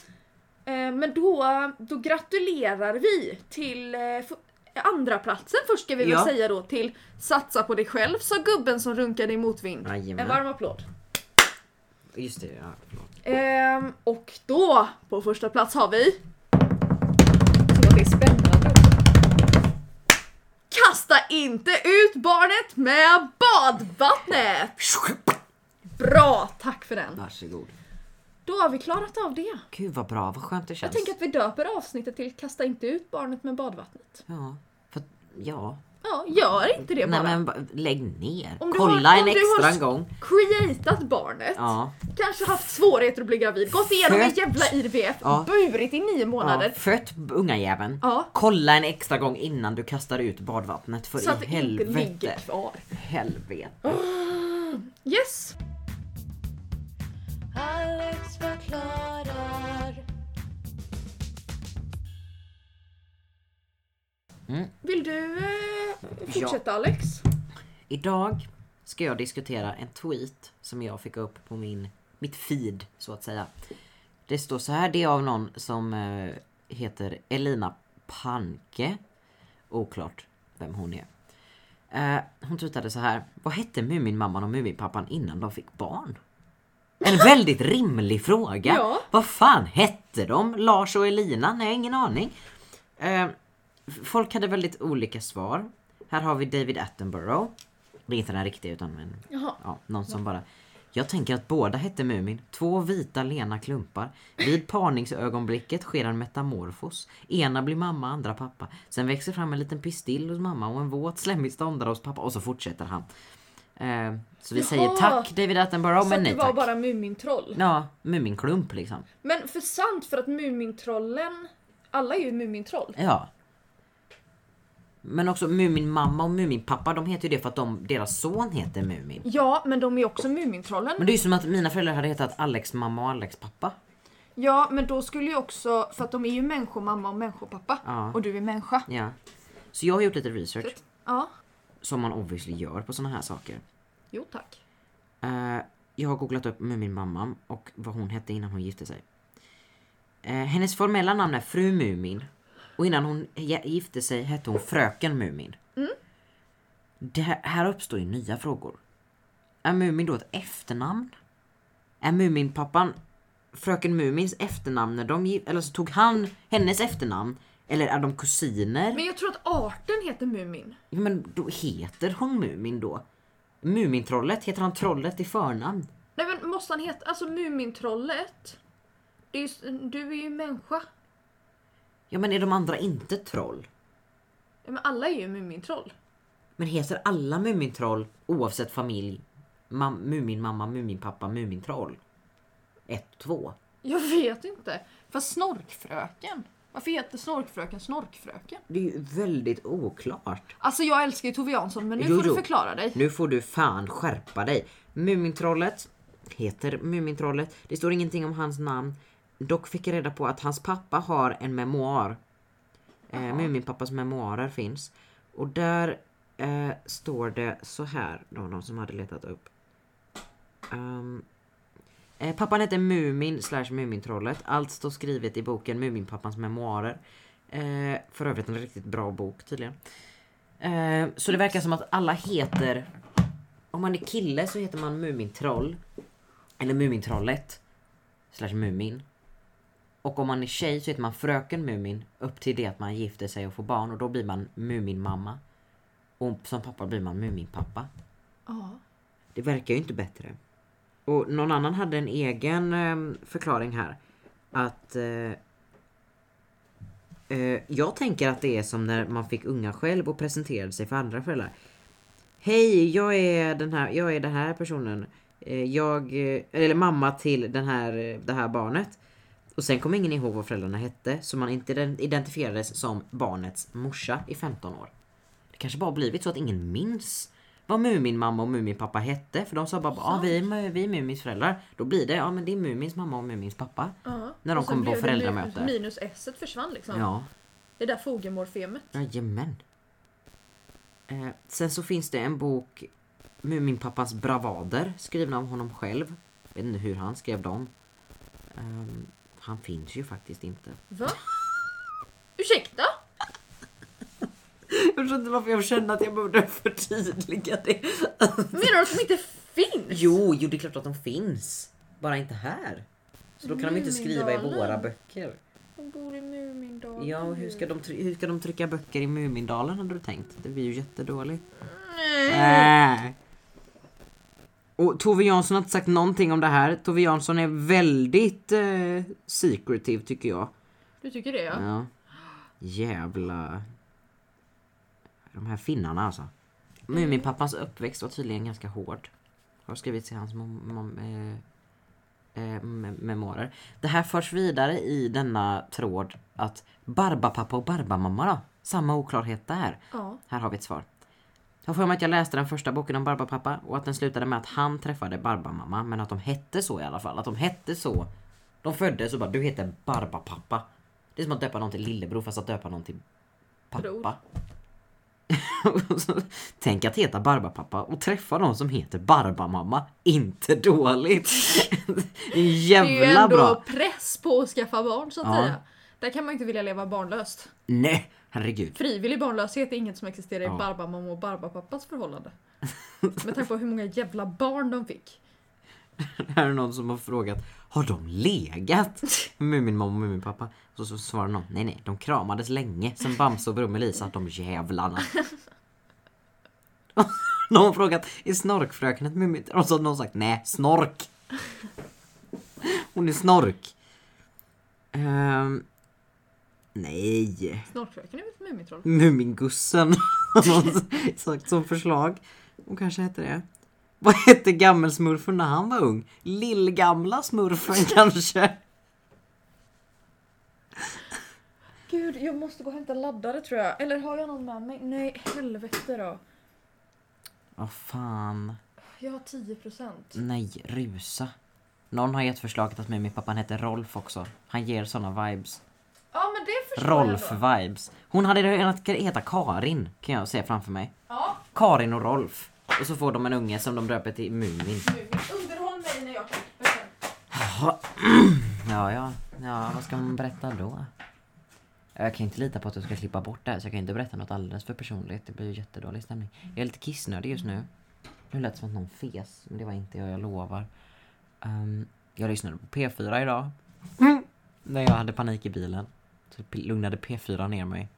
S1: Eh, Men då, då gratulerar vi till eh, f- andra platsen först ska vi väl
S2: Ja.
S1: säga då till Satsa på dig själv sa gubben som runkade i motvind. En
S2: Jajamän.
S1: varm applåd.
S2: Just det, ja, förlåt.
S1: Ehm, och då på första plats har vi... Så att det är spännande. Kasta inte ut barnet med badvattnet! Bra, tack för den.
S2: Varsågod.
S1: Då har vi klarat av det.
S2: Gud vad bra, vad skönt det
S1: Jag
S2: känns.
S1: tänker att vi döper avsnittet till Kasta inte ut barnet med badvattnet.
S2: Ja. För, ja.
S1: Ja, gör inte det
S2: Nej
S1: bara.
S2: men ba- lägg ner.
S1: Om du
S2: Kolla
S1: har- om
S2: en
S1: du har sk-
S2: extra gång.
S1: Creatat barnet,
S2: Ja.
S1: kanske haft svårigheter att bli gravid, gått igenom en
S2: Fött.
S1: jävla IVF,
S2: Ja.
S1: burit i nio
S2: ja.
S1: månader.
S2: Fött ungajäveln.
S1: Ja.
S2: Kolla en extra gång innan du kastar ut badvattnet för
S1: Så att det
S2: i helvete.
S1: inte ligger kvar.
S2: Helvete.
S1: Yes!
S5: Alex förklarar.
S1: Vill du eh, fortsätta
S2: Mm. Ja.
S1: Alex?
S2: Idag ska jag diskutera en tweet som jag fick upp på min, mitt feed så att säga. Det står så här, det är av någon som eh, heter Elina Panke. Oklart vem hon är. Eh, hon tweetade så här. Vad hette Muminmamman och Muminpappan innan de fick barn? En väldigt rimlig fråga.
S1: Ja.
S2: Vad fan hette de? Lars och Elina? Nej, ingen aning. Eh, f- folk hade väldigt olika svar. Här har vi David Attenborough. Det är inte den riktiga utan en,
S1: Jaha.
S2: ja, någon som bara... Jag tänker att båda hette Mumin. Två vita lena klumpar. Vid parningsögonblicket sker en metamorfos. Ena blir mamma, andra pappa. Sen växer fram en liten pistill hos mamma och en våt slemmig ståndare hos pappa. Och så fortsätter han. Eh, så vi
S1: Jaha.
S2: säger tack David Attenborough,
S1: så
S2: men
S1: att det
S2: nej
S1: var
S2: tack.
S1: bara Mumintroll.
S2: Ja, Muminklump liksom.
S1: Men för sant för att Mumintrollen, alla är ju Mumintroll.
S2: Ja. Men också Muminmamma och Muminpappa, de heter ju det för att de, deras son heter Mumin.
S1: Ja, men de är också Mumintrollen.
S2: Men det är ju som att mina föräldrar hade hetat Alex mamma och Alex pappa.
S1: Ja, men då skulle ju också, för att de är ju människomamma och människopappa.
S2: Ja.
S1: Och du är människa.
S2: Ja. Så jag har gjort lite research,
S1: Ja.
S2: som man obviously gör på såna här saker.
S1: Jo tack.
S2: Eh, jag har googlat upp med min mamma och vad hon hette innan hon gifte sig. Eh, hennes formella namn är fru Mumin och innan hon ge- gifte sig hette hon fröken Mumin. Det här, här uppstår ju nya frågor. Är Mumin då ett efternamn? Är Muminpappan fröken Mumins efternamn när de gif- eller så tog han hennes efternamn? Eller är de kusiner?
S1: Men jag tror att arten heter Mumin.
S2: Ja, men då heter hon Mumin då? Mumintrollet, heter han trollet i förnamn?
S1: Nej men måste han heta, alltså Mumintrollet. Det är ju, s- du är ju människa.
S2: Ja men är de andra inte troll?
S1: Ja, Men alla är ju Mumintroll.
S2: Men heter alla Mumintroll oavsett familj mam- Muminmamma, Muminpappa, Mumintroll? Ett, två.
S6: Jag vet inte. För snorkfröken? Varför heter snorkfröken snorkfröken?
S2: Det är ju väldigt oklart.
S6: Alltså jag älskar ju Tove Jansson men nu
S2: Jo,
S6: får
S2: jo.
S6: du förklara dig.
S2: Nu får du fan skärpa dig. Mumintrollet heter Mumintrollet. Det står ingenting om hans namn. Dock fick jag reda på att hans pappa har en memoar. Eh, Muminpappas memoarer finns. Och där eh, står det så här, då de som hade letat upp. Ehm, eh, pappan heter Mumin slash Mumintrollet. Allt står skrivet i boken Muminpappans memoarer. Eh, för övrigt en riktigt bra bok tydligen. Eh, så det verkar som att alla heter... Om man är kille så heter man Mumintroll. Eller Mumintrollet. Slash Mumin. Och om man är tjej så heter man Fröken Mumin upp till det att man gifter sig och får barn och då blir man Muminmamma. Och som pappa blir man Muminpappa.
S6: Ja.
S2: Det verkar ju inte bättre. Och någon annan hade en egen eh, förklaring här. Att... Eh, eh, jag tänker att det är som när man fick unga själv och presenterade sig för andra föräldrar. Hej, jag är den här, jag är den här personen. Eh, jag, eh, eller mamma till den här, eh, det här barnet. Och sen kom ingen ihåg vad föräldrarna hette så man inte ident- identifierades som barnets morsa i 15 år. Det kanske bara blivit så att ingen minns vad Muminmamma och Muminpappa hette. För de sa bara ah, vi, är Mu- vi är Mumins föräldrar. Då blir det, ja men det är Mumins mamma och Mumins pappa. När de
S1: Och sen
S2: kommer på
S1: blev det
S2: föräldramöte.
S1: mi- Minus s försvann liksom.
S2: Ja.
S1: Det där fogemorfemet.
S2: Jajamän. Eh, sen så finns det en bok, Muminpappas bravader, skriven av honom själv. Vet inte hur han skrev dem. Ehm, han finns ju faktiskt inte.
S1: Va? Ursäkta?
S2: Jag förstår inte varför jag känner att jag behövde förtydliga det.
S1: Menar du att de inte finns?
S2: Jo, jo det är klart att de finns. Bara inte här. Så då kan de inte skriva i våra
S1: Mumindalen.
S2: böcker.
S1: De bor i Mumindalen.
S2: Ja, och hur ska, de, try- hur ska de trycka böcker i Mumindalen hade du tänkt? Det blir ju jättedåligt. Nej. Och Tove Jansson har inte sagt någonting om det här. Tove Jansson är väldigt eh, secretive tycker jag.
S6: Du tycker det ja?
S2: Ja. Jävla... De här finnarna alltså. Muminpappans uppväxt var tydligen ganska hård. Har skrivits i hans mom- mom- eh, eh, me- memoarer. Det här förs vidare i denna tråd att Barbapappa och Barbamamma då? Samma oklarhet där.
S1: Ja.
S2: Här har vi ett svar. Jag får för mig att jag läste den första boken om Barbapappa och att den slutade med att han träffade Barbamamma men att de hette så i alla fall. Att de hette så. De föddes och bara du heter Barbapappa. Det är som att döpa någon till lillebror fast att döpa någon till pappa. Och så- Tänk att heta Barbapappa och träffa någon som heter Barbamamma. Inte dåligt.
S6: Det är ju
S2: Jävla
S6: ändå
S2: bra.
S6: press på att skaffa barn så att
S2: Ja.
S6: säga. Där kan man ju inte vilja leva barnlöst.
S2: Nej, herregud.
S6: Frivillig barnlöshet är inget som existerar
S2: Ja.
S6: i Barbamamma och Barbapappas förhållande. Med tanke på hur många jävla barn de fick.
S2: Här är någon som har frågat Har de legat? Muminmamma och Muminpappa. Så, så svarar någon Nej nej, de kramades länge sen Bamse och Brummelisa, de jävlarna. någon har frågat Är snorkfröken ett Mumintroll? Och så har någon sagt Nej, snork. Hon är snork. Ehm, nej.
S6: Snorkfröken är väl ett mumintroll?
S2: Mumingussen har någon sagt som förslag. Hon kanske hette det. Vad hette gammelsmurfen när han var ung? Lillgamla smurfen kanske?
S1: Gud, jag måste gå och hämta laddare tror jag. Eller har jag någon med mig? Nej, helvete då.
S2: Vad fan.
S1: Jag har 10%.
S2: Nej, rusa. Någon har gett förslaget att Muminpappan heter Rolf också. Han ger såna vibes.
S1: Ja men det förstår jag då.
S2: Rolf-vibes. Hon hade kunnat heta Karin, kan jag se framför mig.
S1: Ja,
S2: Karin och Rolf. Och så får de en unge som de döper till Mumin.
S1: Mumin. Underhåll mig
S2: Jaha. Ja, ja. Ja, vad ska man berätta då? Jag kan inte lita på att du ska klippa bort det här så jag kan inte berätta något alldeles för personligt. Det blir ju jättedålig stämning. Jag är lite kissnödig just nu. Nu lät det som att någon fes, men det var inte jag, jag lovar. Ehm, jag lyssnade på P4 idag. När jag hade panik i bilen. Så p- lugnade P4 ner mig.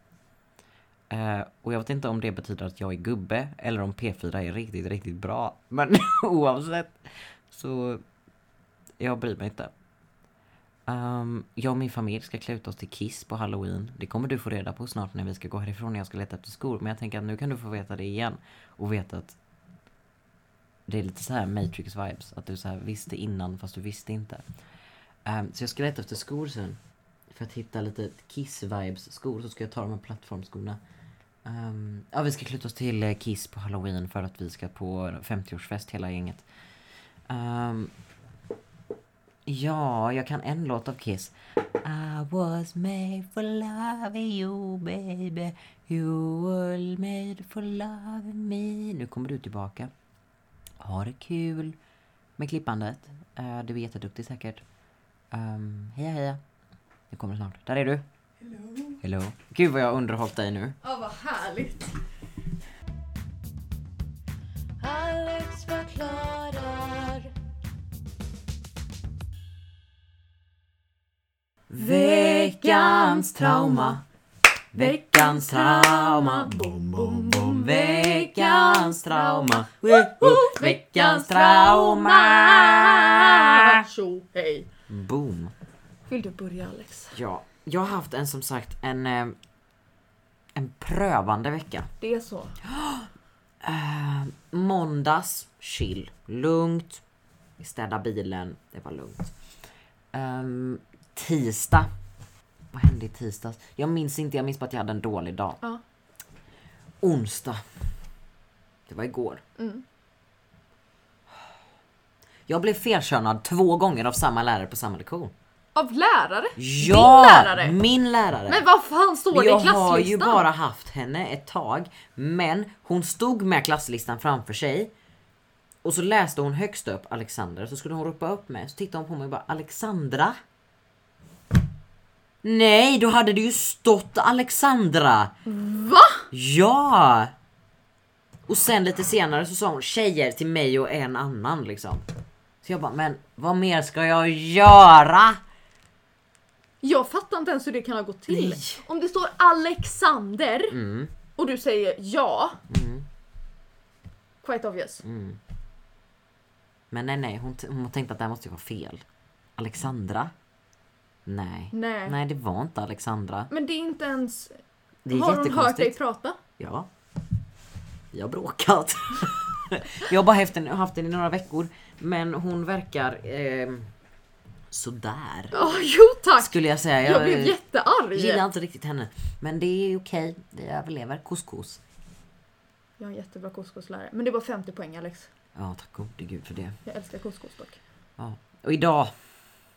S2: Eh, och jag vet inte om det betyder att jag är gubbe eller om P4 är riktigt, riktigt bra. Men oavsett så jag bryr mig inte. Ehm, jag och min familj ska klä ut oss till Kiss på halloween. Det kommer du få reda på snart när vi ska gå härifrån när jag ska leta efter skor. Men jag tänker att nu kan du få veta det igen. Och veta att det är lite så här Matrix vibes. Att du så här visste innan fast du visste inte. Ehm, så jag ska leta efter skor sen. För att hitta lite Kiss vibes skor så ska jag ta de här plattformskorna. Ehm, ja, vi ska klä ut oss till eh, Kiss på halloween för att vi ska på 50-årsfest hela gänget. Ehm, Ja, jag kan en låt av Kiss. I was made for loving you baby You were made for loving me Nu kommer du tillbaka. Ha det kul med klippandet. Eh, Du är jätteduktig säkert. Um, heja heja. Jag kommer snart. Där är du. Hello. Hello. Gud vad jag har underhållit dig nu.
S1: Ja, vad härligt.
S7: Alex förklarar.
S1: Veckans trauma.
S2: Veckans trauma. Bom, bom, bom. Veckans trauma. Woho! Veckans trauma.
S1: Tjo, hej.
S2: Boom.
S1: Vill du börja Alex?
S2: Ja, jag har haft en som sagt en, eh, en prövande vecka.
S1: Det är så.
S2: Eh, måndags, chill, lugnt. Vi städade bilen, det var lugnt. Ehm, tisdag. Vad hände i tisdags? Jag minns inte, jag minns bara att jag hade en dålig dag.
S1: Ja.
S2: Onsdag. Det var igår.
S1: Mm.
S2: Jag blev felkönad två gånger av samma lärare på samma lektion.
S1: Av lärare?
S2: Ja!
S1: Din lärare?
S2: Min lärare!
S1: Men vad fan står det i
S2: jag
S1: klasslistan?
S2: har ju bara haft henne ett tag, men hon stod med klasslistan framför sig och så läste hon högst upp Alexander så skulle hon ropa upp mig så tittade hon på mig och bara Alexandra. Nej, då hade det ju stått Alexandra.
S1: Va?
S2: Ja! Och sen lite senare så sa hon tjejer till mig och en annan liksom. Så jag bara, men vad mer ska jag göra?
S1: Jag fattar inte ens hur det kan ha gått till.
S2: Nej. Mm.
S1: Om det står Alexander och du säger ja. Quite obvious.
S2: Mm. Men nej, nej, hon, t- hon tänkte att det här måste ju vara fel. Alexandra? Nej.
S1: Nej.
S2: Nej, det var inte Alexandra.
S1: Men det är inte ens...
S2: Det är
S1: har hon hört dig
S2: Mm, jättekonstigt.
S1: prata?
S2: Ja. Vi har bråkat. jag har bara haft den, haft den i några veckor. Men hon verkar eh, sådär.
S1: Ja, jo tack!
S2: Skulle jag säga.
S1: jag blev jättearg.
S2: gillar inte riktigt henne. Men det är okej. Vi överlever. Couscous.
S1: Jag är en jättebra couscouslärare. Men det var 50 poäng Alex.
S2: Ja, tack gode gud för det.
S1: Jag älskar couscous dock.
S2: Ja. Och idag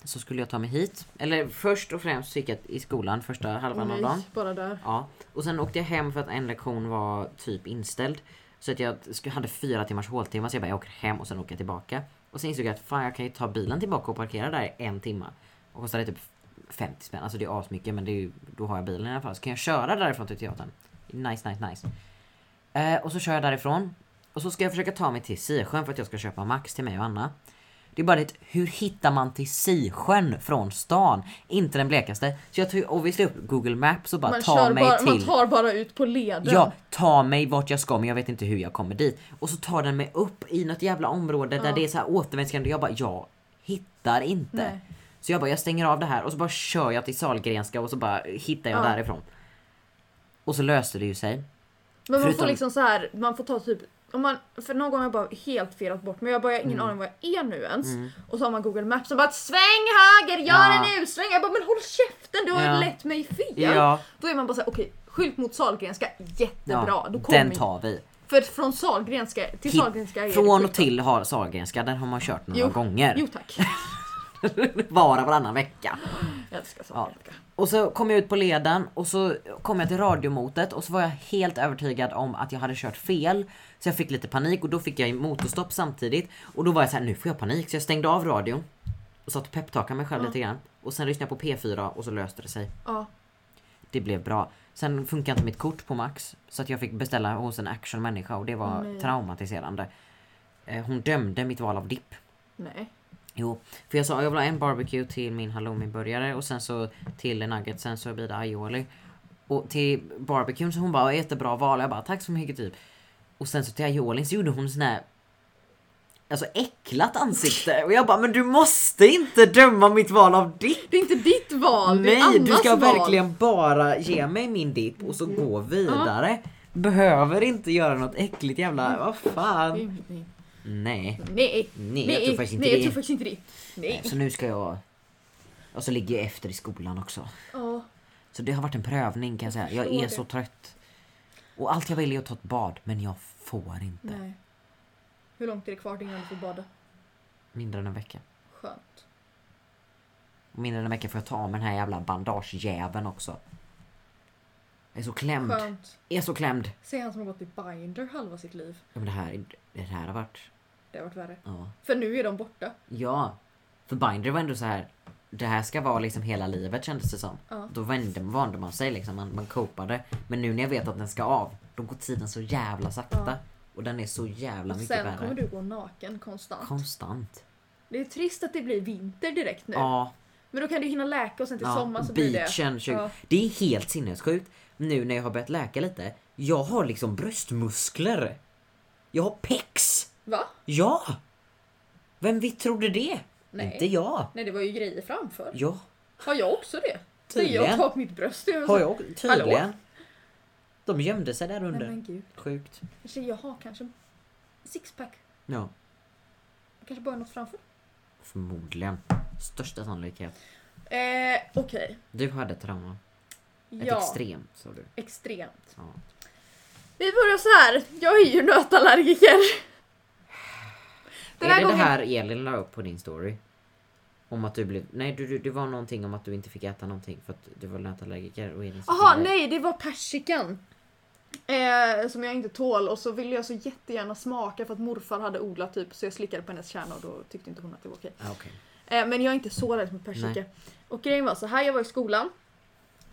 S2: så skulle jag ta mig hit. Eller först och främst så gick jag i skolan första halvan av dagen.
S1: Nej, bara där.
S2: Ja, och sen åkte jag hem för att en lektion var typ inställd. Så att jag sk- hade fyra timmars håltimmar så jag bara jag åker hem och sen åker jag tillbaka. Och sen insåg jag att fan jag kan ju ta bilen tillbaka och parkera där i en timma. Och kostar det typ 50 spänn. Alltså det är asmycket men det är ju, då har jag bilen i alla fall. Så kan jag köra därifrån till teatern. Nice, nice, nice. Eh, och så kör jag därifrån. Och så ska jag försöka ta mig till Sisjön för att jag ska köpa Max till mig och Anna. Det är bara det, hur hittar man till Sisjön från stan? Inte den blekaste. Så jag tog ju obviously upp Google Maps och bara
S1: Man,
S2: ta
S1: kör
S2: mig
S1: bara,
S2: till...
S1: man tar bara ut på leden.
S2: Ja, ta mig vart jag ska men jag vet inte hur jag kommer dit. Och så tar den mig upp i något jävla område där det är så här återvändsgränd och jag bara jag hittar inte.
S1: Nej.
S2: Så jag bara jag stänger av det här och så bara kör jag till Sahlgrenska och så bara hittar jag
S1: Ja.
S2: därifrån. Och så löste det ju sig.
S1: Men man får
S2: Förutom-
S1: liksom så här, man får ta typ om man, för någon gång har jag bara helt felat bort men jag har bara ingen
S2: Mm.
S1: aning vad jag är nu ens. Och så har man google maps och bara sväng höger, gör
S2: Ja.
S1: det nu, sväng! Jag bara men håll käften du har
S2: Ja.
S1: lett mig fel!
S2: Ja.
S1: Då är man bara såhär okej, skylt mot Sahlgrenska,
S2: Ja,
S1: jättebra. då kommer
S2: den tar vi.
S1: För från Sahlgrenska till
S2: Hit-
S1: Sahlgrenska är det
S2: Från och
S1: skyltat.
S2: till har Sahlgrenska, där har man kört några
S1: Jo.
S2: gånger.
S1: Jo tack.
S2: Bara varannan vecka.
S1: Jag älskar Sahlgrenska.
S2: Och så kom jag ut på leden och så kom jag till radiomotet och så var jag helt övertygad om att jag hade kört fel. Så jag fick lite panik och då fick jag motorstopp samtidigt. Och då var jag så här, nu får jag panik. Så jag stängde av radion. och satt och peptalkade mig själv lite grann. Och sen lyssnade jag på P4 och så löste det sig.
S1: Ja.
S2: Det blev bra. Sen funkar inte mitt kort på Max. Så att jag fick beställa hos en actionmänniska och det var
S1: Nej.
S2: traumatiserande. Eh, Hon dömde mitt val av dipp.
S1: Nej.
S2: Jo, för jag sa jag vill ha en barbecue till min halloumi-burgare och sen så till en nugget, sen så blir det aioli. Och till barbecuen så hon bara jättebra val, jag bara tack så mycket typ. Och sen så till aiolin så gjorde hon sån här Alltså äcklat ansikte och jag bara men du måste inte döma mitt val av dipp!
S1: Det är inte ditt val, det är
S2: Nej
S1: allas
S2: du ska
S1: val. Mm.
S2: verkligen bara ge mig min dipp och så gå vidare. Behöver inte göra något äckligt
S1: Mm.
S2: jävla, vad fan.
S1: Nej, nej.
S2: Nej.
S1: Nej,
S2: Nej, jag tror faktiskt inte
S1: nej, jag
S2: det.
S1: tror faktiskt inte det. Nej.
S2: Så nu ska jag... Och så ligger jag efter i skolan också.
S1: Ja.
S2: Så det har varit en prövning kan jag säga. Jag
S1: förstår
S2: är
S1: det.
S2: så trött. Och allt jag vill är att ta ett bad, men jag får inte.
S1: Nej. Hur långt är det kvar till innan du får bada?
S2: Mindre än en vecka.
S1: Skönt.
S2: Och mindre än en vecka får jag ta av mig den här jävla bandagejäveln också. Jag är så klämd.
S1: Skönt.
S2: Jag är så klämd.
S1: Se han som har gått i binder halva sitt liv.
S2: Ja, men det här, det här har varit...
S1: Det har varit värre.
S2: Ja.
S1: För nu är de borta.
S2: ja. För Binder var ändå så här. Det här ska vara liksom hela livet kändes det som.
S1: Ja.
S2: Då vände, vande man sig liksom. Man, man copade. Men nu när jag vet att den ska av. Då går tiden så jävla sakta.
S1: Ja.
S2: Och den är så jävla
S1: Och
S2: mycket
S1: sen kommer
S2: värre.
S1: du gå naken konstant.
S2: Konstant.
S1: Det är trist att det blir vinter direkt nu.
S2: Ja,
S1: Men då kan du hinna läka och sen till
S2: ja,
S1: sommar så blir det...
S2: beachen. 20.
S1: Ja.
S2: Det är helt sinnessjukt nu när jag har börjat läka lite. Jag har liksom bröstmuskler. Jag har pex.
S1: Va?
S2: Ja! Vem vi trodde det?
S1: Nej.
S2: Inte jag.
S1: Nej det var ju grejer framför.
S2: Ja,
S1: Har jag också det?
S2: Tydligen.
S1: Jag tar på mitt bröst. Jag
S2: har jag tydligen.
S1: Alltså, Hallå?
S2: De gömde sig där
S1: Nej
S2: under.
S1: men gud.
S2: Sjukt.
S1: Kanske jag har kanske sixpack.
S2: Ja,
S1: Kanske bara något framför.
S2: förmodligen. Största sannolikhet.
S1: Eh, Okej.
S2: Du hade ett trauma. Ett
S1: Ja.
S2: extremt sa du.
S1: Extremt.
S2: Ja.
S1: Vi börjar så här. Jag är ju nötallergiker. Den
S2: är
S1: här
S2: det
S1: gången...
S2: det här Elin la upp på din story? Om att du blev... Nej, du, du, det var någonting om att du inte fick äta någonting för att du var nötallergiker och Elin sa
S1: Jaha,
S2: till dig-
S1: nej det var persikan. Eh, som jag inte tål och så ville jag så jättegärna smaka för att morfar hade odlat typ så jag slickade på hennes kärna och då tyckte inte hon att det var okej.
S2: Ah, okej.
S1: Eh, men jag är inte så rädd för persika.
S2: Nej.
S1: Och grejen var så här, jag var i skolan.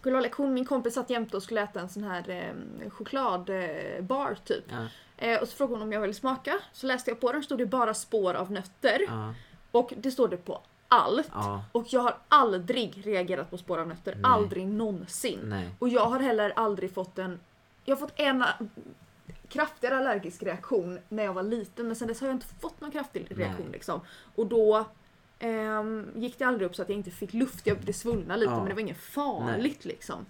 S1: Skulle ha lektion, min kompis satt jämte och skulle äta en sån här eh, chokladbar eh, bar, typ.
S2: Ja,
S1: Eh, och så frågade hon om jag ville smaka. Så läste jag på den, stod det bara spår av nötter.
S2: ja,
S1: Och det står det på allt.
S2: ja,
S1: Och jag har aldrig reagerat på spår av nötter.
S2: Nej.
S1: Aldrig någonsin.
S2: nej.
S1: Och jag har heller aldrig fått en... Jag har fått en a- kraftigare allergisk reaktion när jag var liten men sen dess har jag inte fått någon kraftig reaktion.
S2: Nej.
S1: Liksom. Och då ehm, gick det aldrig upp så att jag inte fick luft. Jag det svullnade lite
S2: Ja.
S1: men det var inget farligt liksom.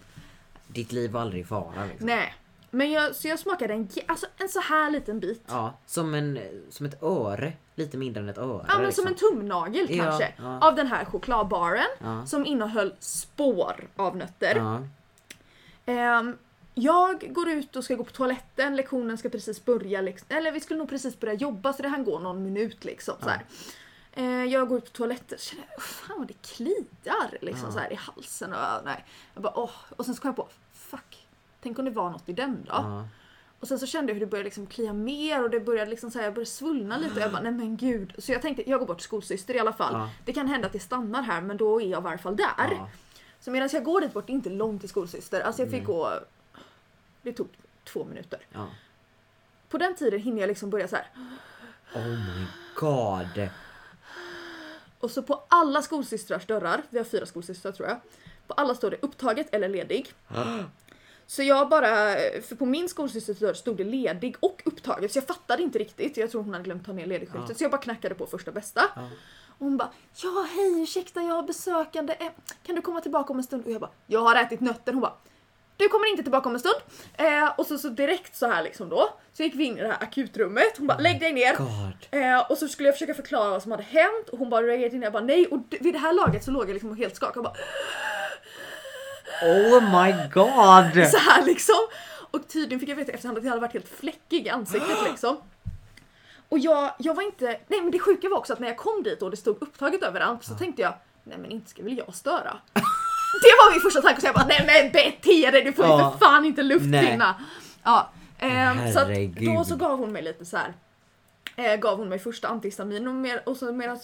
S2: Ditt liv var aldrig i fara liksom.
S1: Nej. Men jag, så jag smakade en, ge- alltså, en så här liten bit.
S2: Ja, som, en, som ett öre. Lite mindre än ett öre.
S1: Ja men
S2: liksom.
S1: som en tumnagel
S2: Ja,
S1: kanske.
S2: ja.
S1: Av den här chokladbaren
S2: Ja.
S1: som innehöll spår av nötter.
S2: Ja,
S1: Ehm, jag går ut och ska gå på toaletten, lektionen ska precis börja. Liksom, eller vi skulle nog precis börja jobba så det hann gå någon minut liksom. Så här. Eh, jag går ut på toaletten och känner "Åh, fan vad det kliar liksom,
S2: Ja.
S1: så här, i halsen. Och, nej. Jag bara, åh. och sen så kom jag på, fuck. Tänk om det var något i den då?
S2: ja.
S1: Och sen så kände jag hur det började liksom klia mer och det började liksom så här, jag började svullna lite. Jag bara, nej men gud. Så jag tänkte, jag går bort till skolsyster i alla fall.
S2: Ja.
S1: Det kan hända att jag stannar här men då är jag i varje fall där.
S2: ja.
S1: Så medan jag går dit bort, det är inte långt till skolsyster, alltså jag fick
S2: Nej.
S1: gå... Det tog två minuter.
S2: ja.
S1: På den tiden hinner jag liksom börja så här.
S2: Oh my god.
S1: Och så på alla skolsystrars dörrar, vi har fyra skolsystrar tror jag, på alla står det upptaget eller ledig. Så jag bara, för på min skolsysters dörr stod det ledig och upptaget så jag fattade inte riktigt. Jag tror hon hade glömt ta ner ledigskylten
S2: Ja.
S1: så jag bara knackade på första bästa.
S2: Ja.
S1: Och hon bara ja hej ursäkta jag har besökande, Eh, kan du komma tillbaka om en stund? Och jag bara jag har ätit nötter. Hon bara du kommer inte tillbaka om en stund. Eh, och så, så direkt så här liksom då. Så gick vi in i det här akutrummet. Hon bara lägg dig ner.
S2: God.
S1: Eh, och så skulle jag försöka förklara vad som hade hänt och hon bara reagerade in jag bara nej och d- vid det här laget så låg jag liksom och helt skakad och bara
S2: Oh my god.
S1: så här liksom. Och tydligen fick jag veta i efterhand att jag hade varit helt fläckig i ansiktet liksom. Och jag, jag var inte, nej men det sjuka var också att när jag kom dit och det stod upptaget överallt så tänkte jag nej men inte ska väl jag störa. det var min första tanke så jag bara nej men bete dig du får ju
S2: Ja.
S1: för fan inte luft
S2: Nej.
S1: kvinna. Ja. ehm, så att då
S2: Herregud.
S1: så gav hon mig lite så här. eh, gav hon mig första antihistamin och, mer, och så, medan,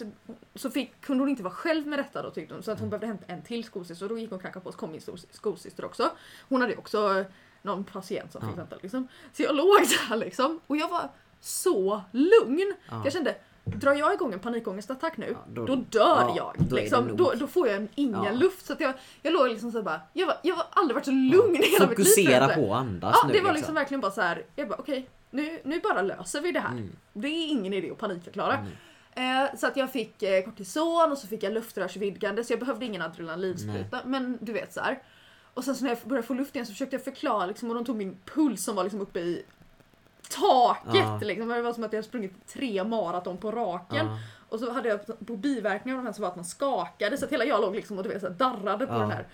S1: så fick, kunde hon inte vara själv med detta då tyckte hon så att
S2: Mm.
S1: hon behövde hämta en till skosyster och då gick hon och knackade på oss kom min stos- skosyster också. Hon hade ju också eh, någon patient som
S2: Ja.
S1: fick vänta liksom. Så jag låg där liksom och jag var så lugn.
S2: Ja.
S1: Jag kände Drar jag igång en panikångestattack nu,
S2: Ja, då-
S1: då, dör
S2: ja, då är
S1: jag.
S2: det
S1: Liksom.
S2: nog.
S1: Då, då får jag en- ingen
S2: Ja.
S1: luft. Så att jag, jag låg liksom så bara, jag, var, jag har aldrig varit så lugn i hela mitt liv. tror jag
S2: Fokusera
S1: inte.
S2: på att andas
S1: Ja,
S2: nu
S1: det var liksom verkligen bara så här. jag bara okej, nu, nu bara löser vi det här.
S2: Mm.
S1: Det är ingen idé att panikförklara.
S2: Mm.
S1: Eh, så att jag fick eh, kortison och så fick jag luftrörsvidgande så jag behövde ingen adrenalinspruta. Men du vet så här. Och sen så när jag började få luft igen så försökte jag förklara liksom, och de tog min puls som var liksom uppe i taket.
S2: Ja.
S1: Liksom. Det var som att jag hade sprungit tre maraton på raken.
S2: Ja.
S1: Och så hade jag på biverkningar av den här så var att man skakade så att hela jag låg liksom och du vet så här, darrade på
S2: Ja.
S1: den här.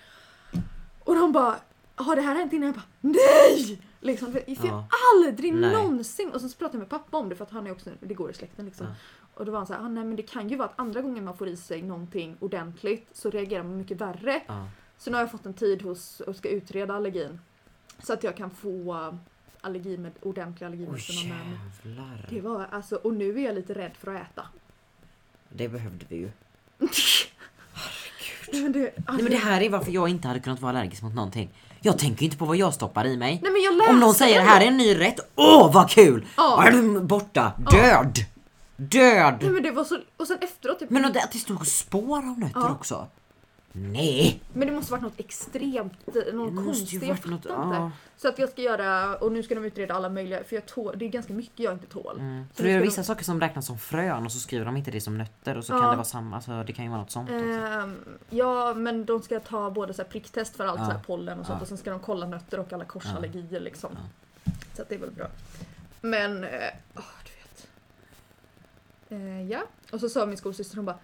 S1: Och de bara har det här hänt innan? Jag bara NEJ! Liksom, för för jag
S2: Ja.
S1: aldrig
S2: Nej.
S1: någonsin... Och så pratade jag med pappa om det för att han är också, det går i släkten liksom.
S2: Ja.
S1: Och då var han såhär, ah, nej men det kan ju vara att andra gången man får i sig någonting ordentligt så reagerar man mycket värre.
S2: Ja.
S1: Så nu har jag fått en tid hos och ska utreda allergin. Så att jag kan få eh, allergi med ordentliga
S2: Oj
S1: allergimediciner med mig.
S2: jävlar.
S1: Det var alltså, och nu är jag lite rädd för att äta.
S2: Det behövde vi ju.
S1: Nej men, det,
S2: Nej, men det här är varför jag inte hade kunnat vara allergisk mot någonting. Jag tänker ju inte på vad jag stoppar i mig.
S1: Nej men jag läste
S2: Om någon säger här är en ny rätt, åh vad kul!
S1: Ja. Mm.
S2: Ja. Borta, död!
S1: Nej
S2: Död!
S1: men det var så... Och sen efteråt typ...
S2: Men och det, att det stod spår av nötter
S1: Ja.
S2: också. Nej!
S1: Men det måste varit något extremt, någon
S2: Det måste
S1: konstig
S2: ju varit något,
S1: jag fattar inte.
S2: ja.
S1: Så att jag ska göra, och nu ska de utreda alla möjliga, för jag tål, det är ganska mycket jag inte tål.
S2: Mm. För
S1: nu
S2: det är
S1: ska
S2: vissa saker som räknas som frön och så skriver de inte det som nötter och så
S1: Ja.
S2: kan det vara samma, alltså, det kan ju vara något sånt
S1: de,
S2: också.
S1: Ehm, ja men de ska ta både så här pricktest för allt
S2: Ja.
S1: så här pollen och sånt
S2: Ja.
S1: och sen ska de kolla nötter och alla korsallergier liksom. Så att det är väl bra. Men, eh, åh du vet. Eh, ja, och så sa min skolsyster hon bara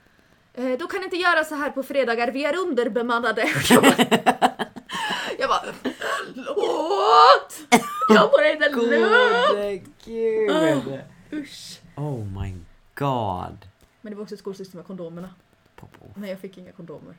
S1: eh, då kan ni inte göra så här på fredagar, vi är underbemannade. Jag bara, jag bara förlåt! Jag får inte lugn!
S2: Gud!
S1: Usch.
S2: Oh my god!
S1: Men det var också skolsyster med kondomerna.
S2: Popo,
S1: Nej jag fick inga kondomer.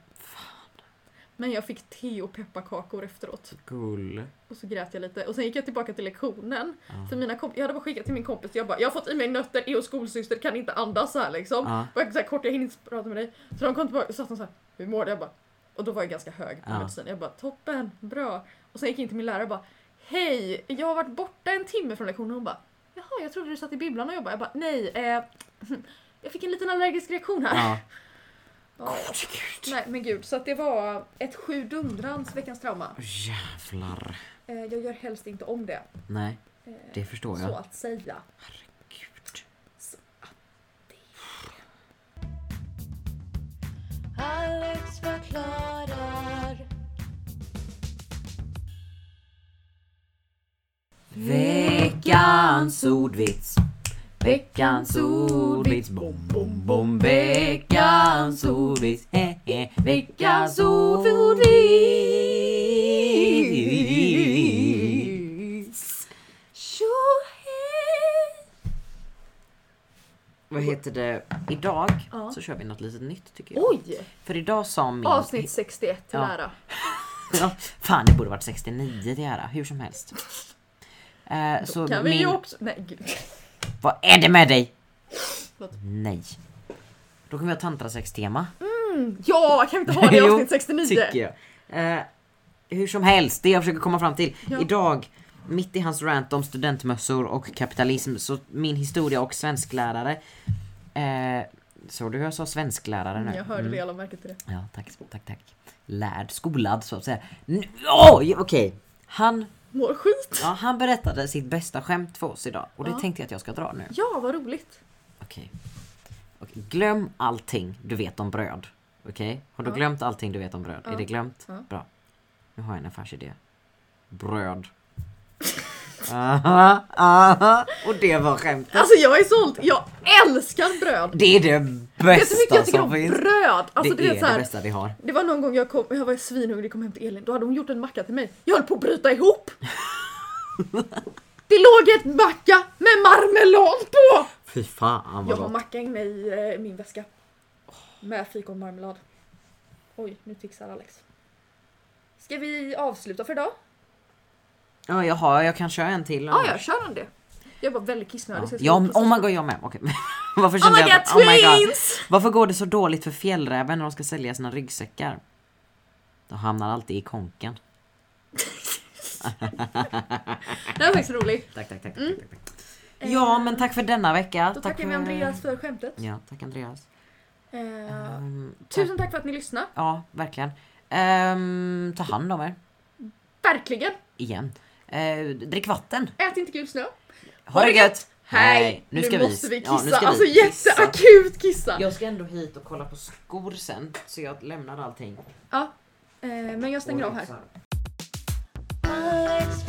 S1: Men jag fick te och pepparkakor efteråt.
S2: gull.
S1: Och så grät jag lite. Och sen gick jag tillbaka till lektionen.
S2: Ja.
S1: För mina komp- jag hade bara skickat till min kompis jag bara jag har fått i mig nötter, är och skolsyster kan inte andas så här liksom.
S2: Ja.
S1: Var så här kort, jag hinner inte prata med dig. Så de kom tillbaka och satt de så här, hur mår du? Jag bara, och då var jag ganska hög på
S2: Ja.
S1: medicin. Jag bara, toppen, bra. Och sen gick jag in till min lärare och bara, hej, jag har varit borta en timme från lektionen. Hon bara, jaha, jag trodde du satt i bibblan och jobbade. Jag bara, nej, eh, jag fick en liten allergisk reaktion här.
S2: Ja.
S1: Ja. Nej men gud, så att det var ett sju dundrans veckans trauma.
S2: Jävlar.
S1: Eh, jag gör helst inte om det,
S2: Nej, det förstår
S1: så
S2: jag.
S1: att säga.
S2: Gud.
S8: Alex förklarar.
S2: Veckans ordvits. Veckans ordvits. Bom, bom, bom. Veckans ordvits. He, he. Veckans ordvits. Vad heter det? Idag
S1: Ja.
S2: så kör vi något litet nytt tycker jag.
S1: Oj!
S2: För idag sa min...
S1: Avsnitt 61 till
S2: Ja.
S1: ära.
S2: Ja, fan det borde varit 69 det här. Hur som helst. Eh, så
S1: Kan vi
S2: min...
S1: ju också... Nej gud.
S2: Vad är det med dig?
S1: Förlåt.
S2: Nej. Då kommer jag tantrasex-tema.
S1: Ja, kan vi inte ha det i
S2: Jo,
S1: avsnitt 69?
S2: Tycker jag. Eh, hur som helst, det jag försöker komma fram till.
S1: Ja.
S2: Idag, mitt i hans rant om studentmössor och kapitalism, så min historia och svensklärare. Eh, såg du hur jag sa svensklärare nu?
S1: Mm, Jag hörde
S2: Mm.
S1: det, jag lade märke till det.
S2: Ja, tack, tack, tack. Lärd, skolad så att säga. N- Åh, okej. Han,
S1: Mår skit!
S2: ja, han berättade sitt bästa skämt för oss idag och det
S1: Ja.
S2: tänkte jag att jag ska dra nu.
S1: Ja, vad roligt!
S2: Okej. Okej, Glöm allting du vet om bröd. Okej? Har du
S1: Ja.
S2: glömt allting du vet om bröd? Är
S1: Ja.
S2: det glömt?
S1: Ja.
S2: Bra. Nu har jag en affärsidé. Bröd. aha, aha. Och det var skämtet.
S1: Alltså jag är såld! Jag älskar bröd!
S2: Det är det
S1: Vet du hur mycket
S2: bästa
S1: jag tycker om
S2: som finns.
S1: bröd? Alltså,
S2: det
S1: du
S2: är
S1: vet, så här,
S2: det bästa vi har.
S1: Det var någon gång jag, kom, jag var svinhungrig kom hem till Elin, då hade hon gjort en macka till mig. Jag höll på att bryta ihop! Det låg ett macka med marmelad på!
S2: Fy fan
S1: Jag
S2: vad
S1: har
S2: gott.
S1: macka inne i eh, min väska. Med fikonmarmelad. Oj, nu fixar Alex. Ska vi avsluta för idag?
S2: Ja, jag har, jag kan köra en till.
S1: Ja,
S2: annars.
S1: jag kör om det. Jag var väldigt kissnödig. så jag
S2: Ja,
S1: skulle-
S2: oh my god, jag med. Okej. Varför
S1: Oh
S2: kände
S1: my
S2: jag
S1: god,
S2: att- oh my god.
S1: twins!
S2: Varför går det så dåligt för fjällräven när de ska sälja sina ryggsäckar? De hamnar alltid i konken.
S1: Den var faktiskt rolig.
S2: Tack, tack, tack. tack, tack, tack. Ja, men tack för denna vecka.
S1: Mm. Då tackar
S2: för...
S1: vi Andreas för skämtet.
S2: Ja, tack Andreas.
S1: Eh,
S2: Ehm, tack.
S1: tusen tack för att ni lyssnade.
S2: Ja, verkligen. Ehm, ta hand om er.
S1: Verkligen!
S2: Igen. Ehm, drick vatten.
S1: Ät inte gul snö.
S2: Ha det gött! Nu
S1: Nu,
S2: ska
S1: måste vi kissa.
S2: Ja, nu ska vi
S1: alltså
S2: kissa.
S1: jätteakut kissa.
S2: Jag ska ändå hit och kolla på skor sen, så jag lämnar allting.
S1: Ja. Eh, men jag stänger av här.
S3: Alex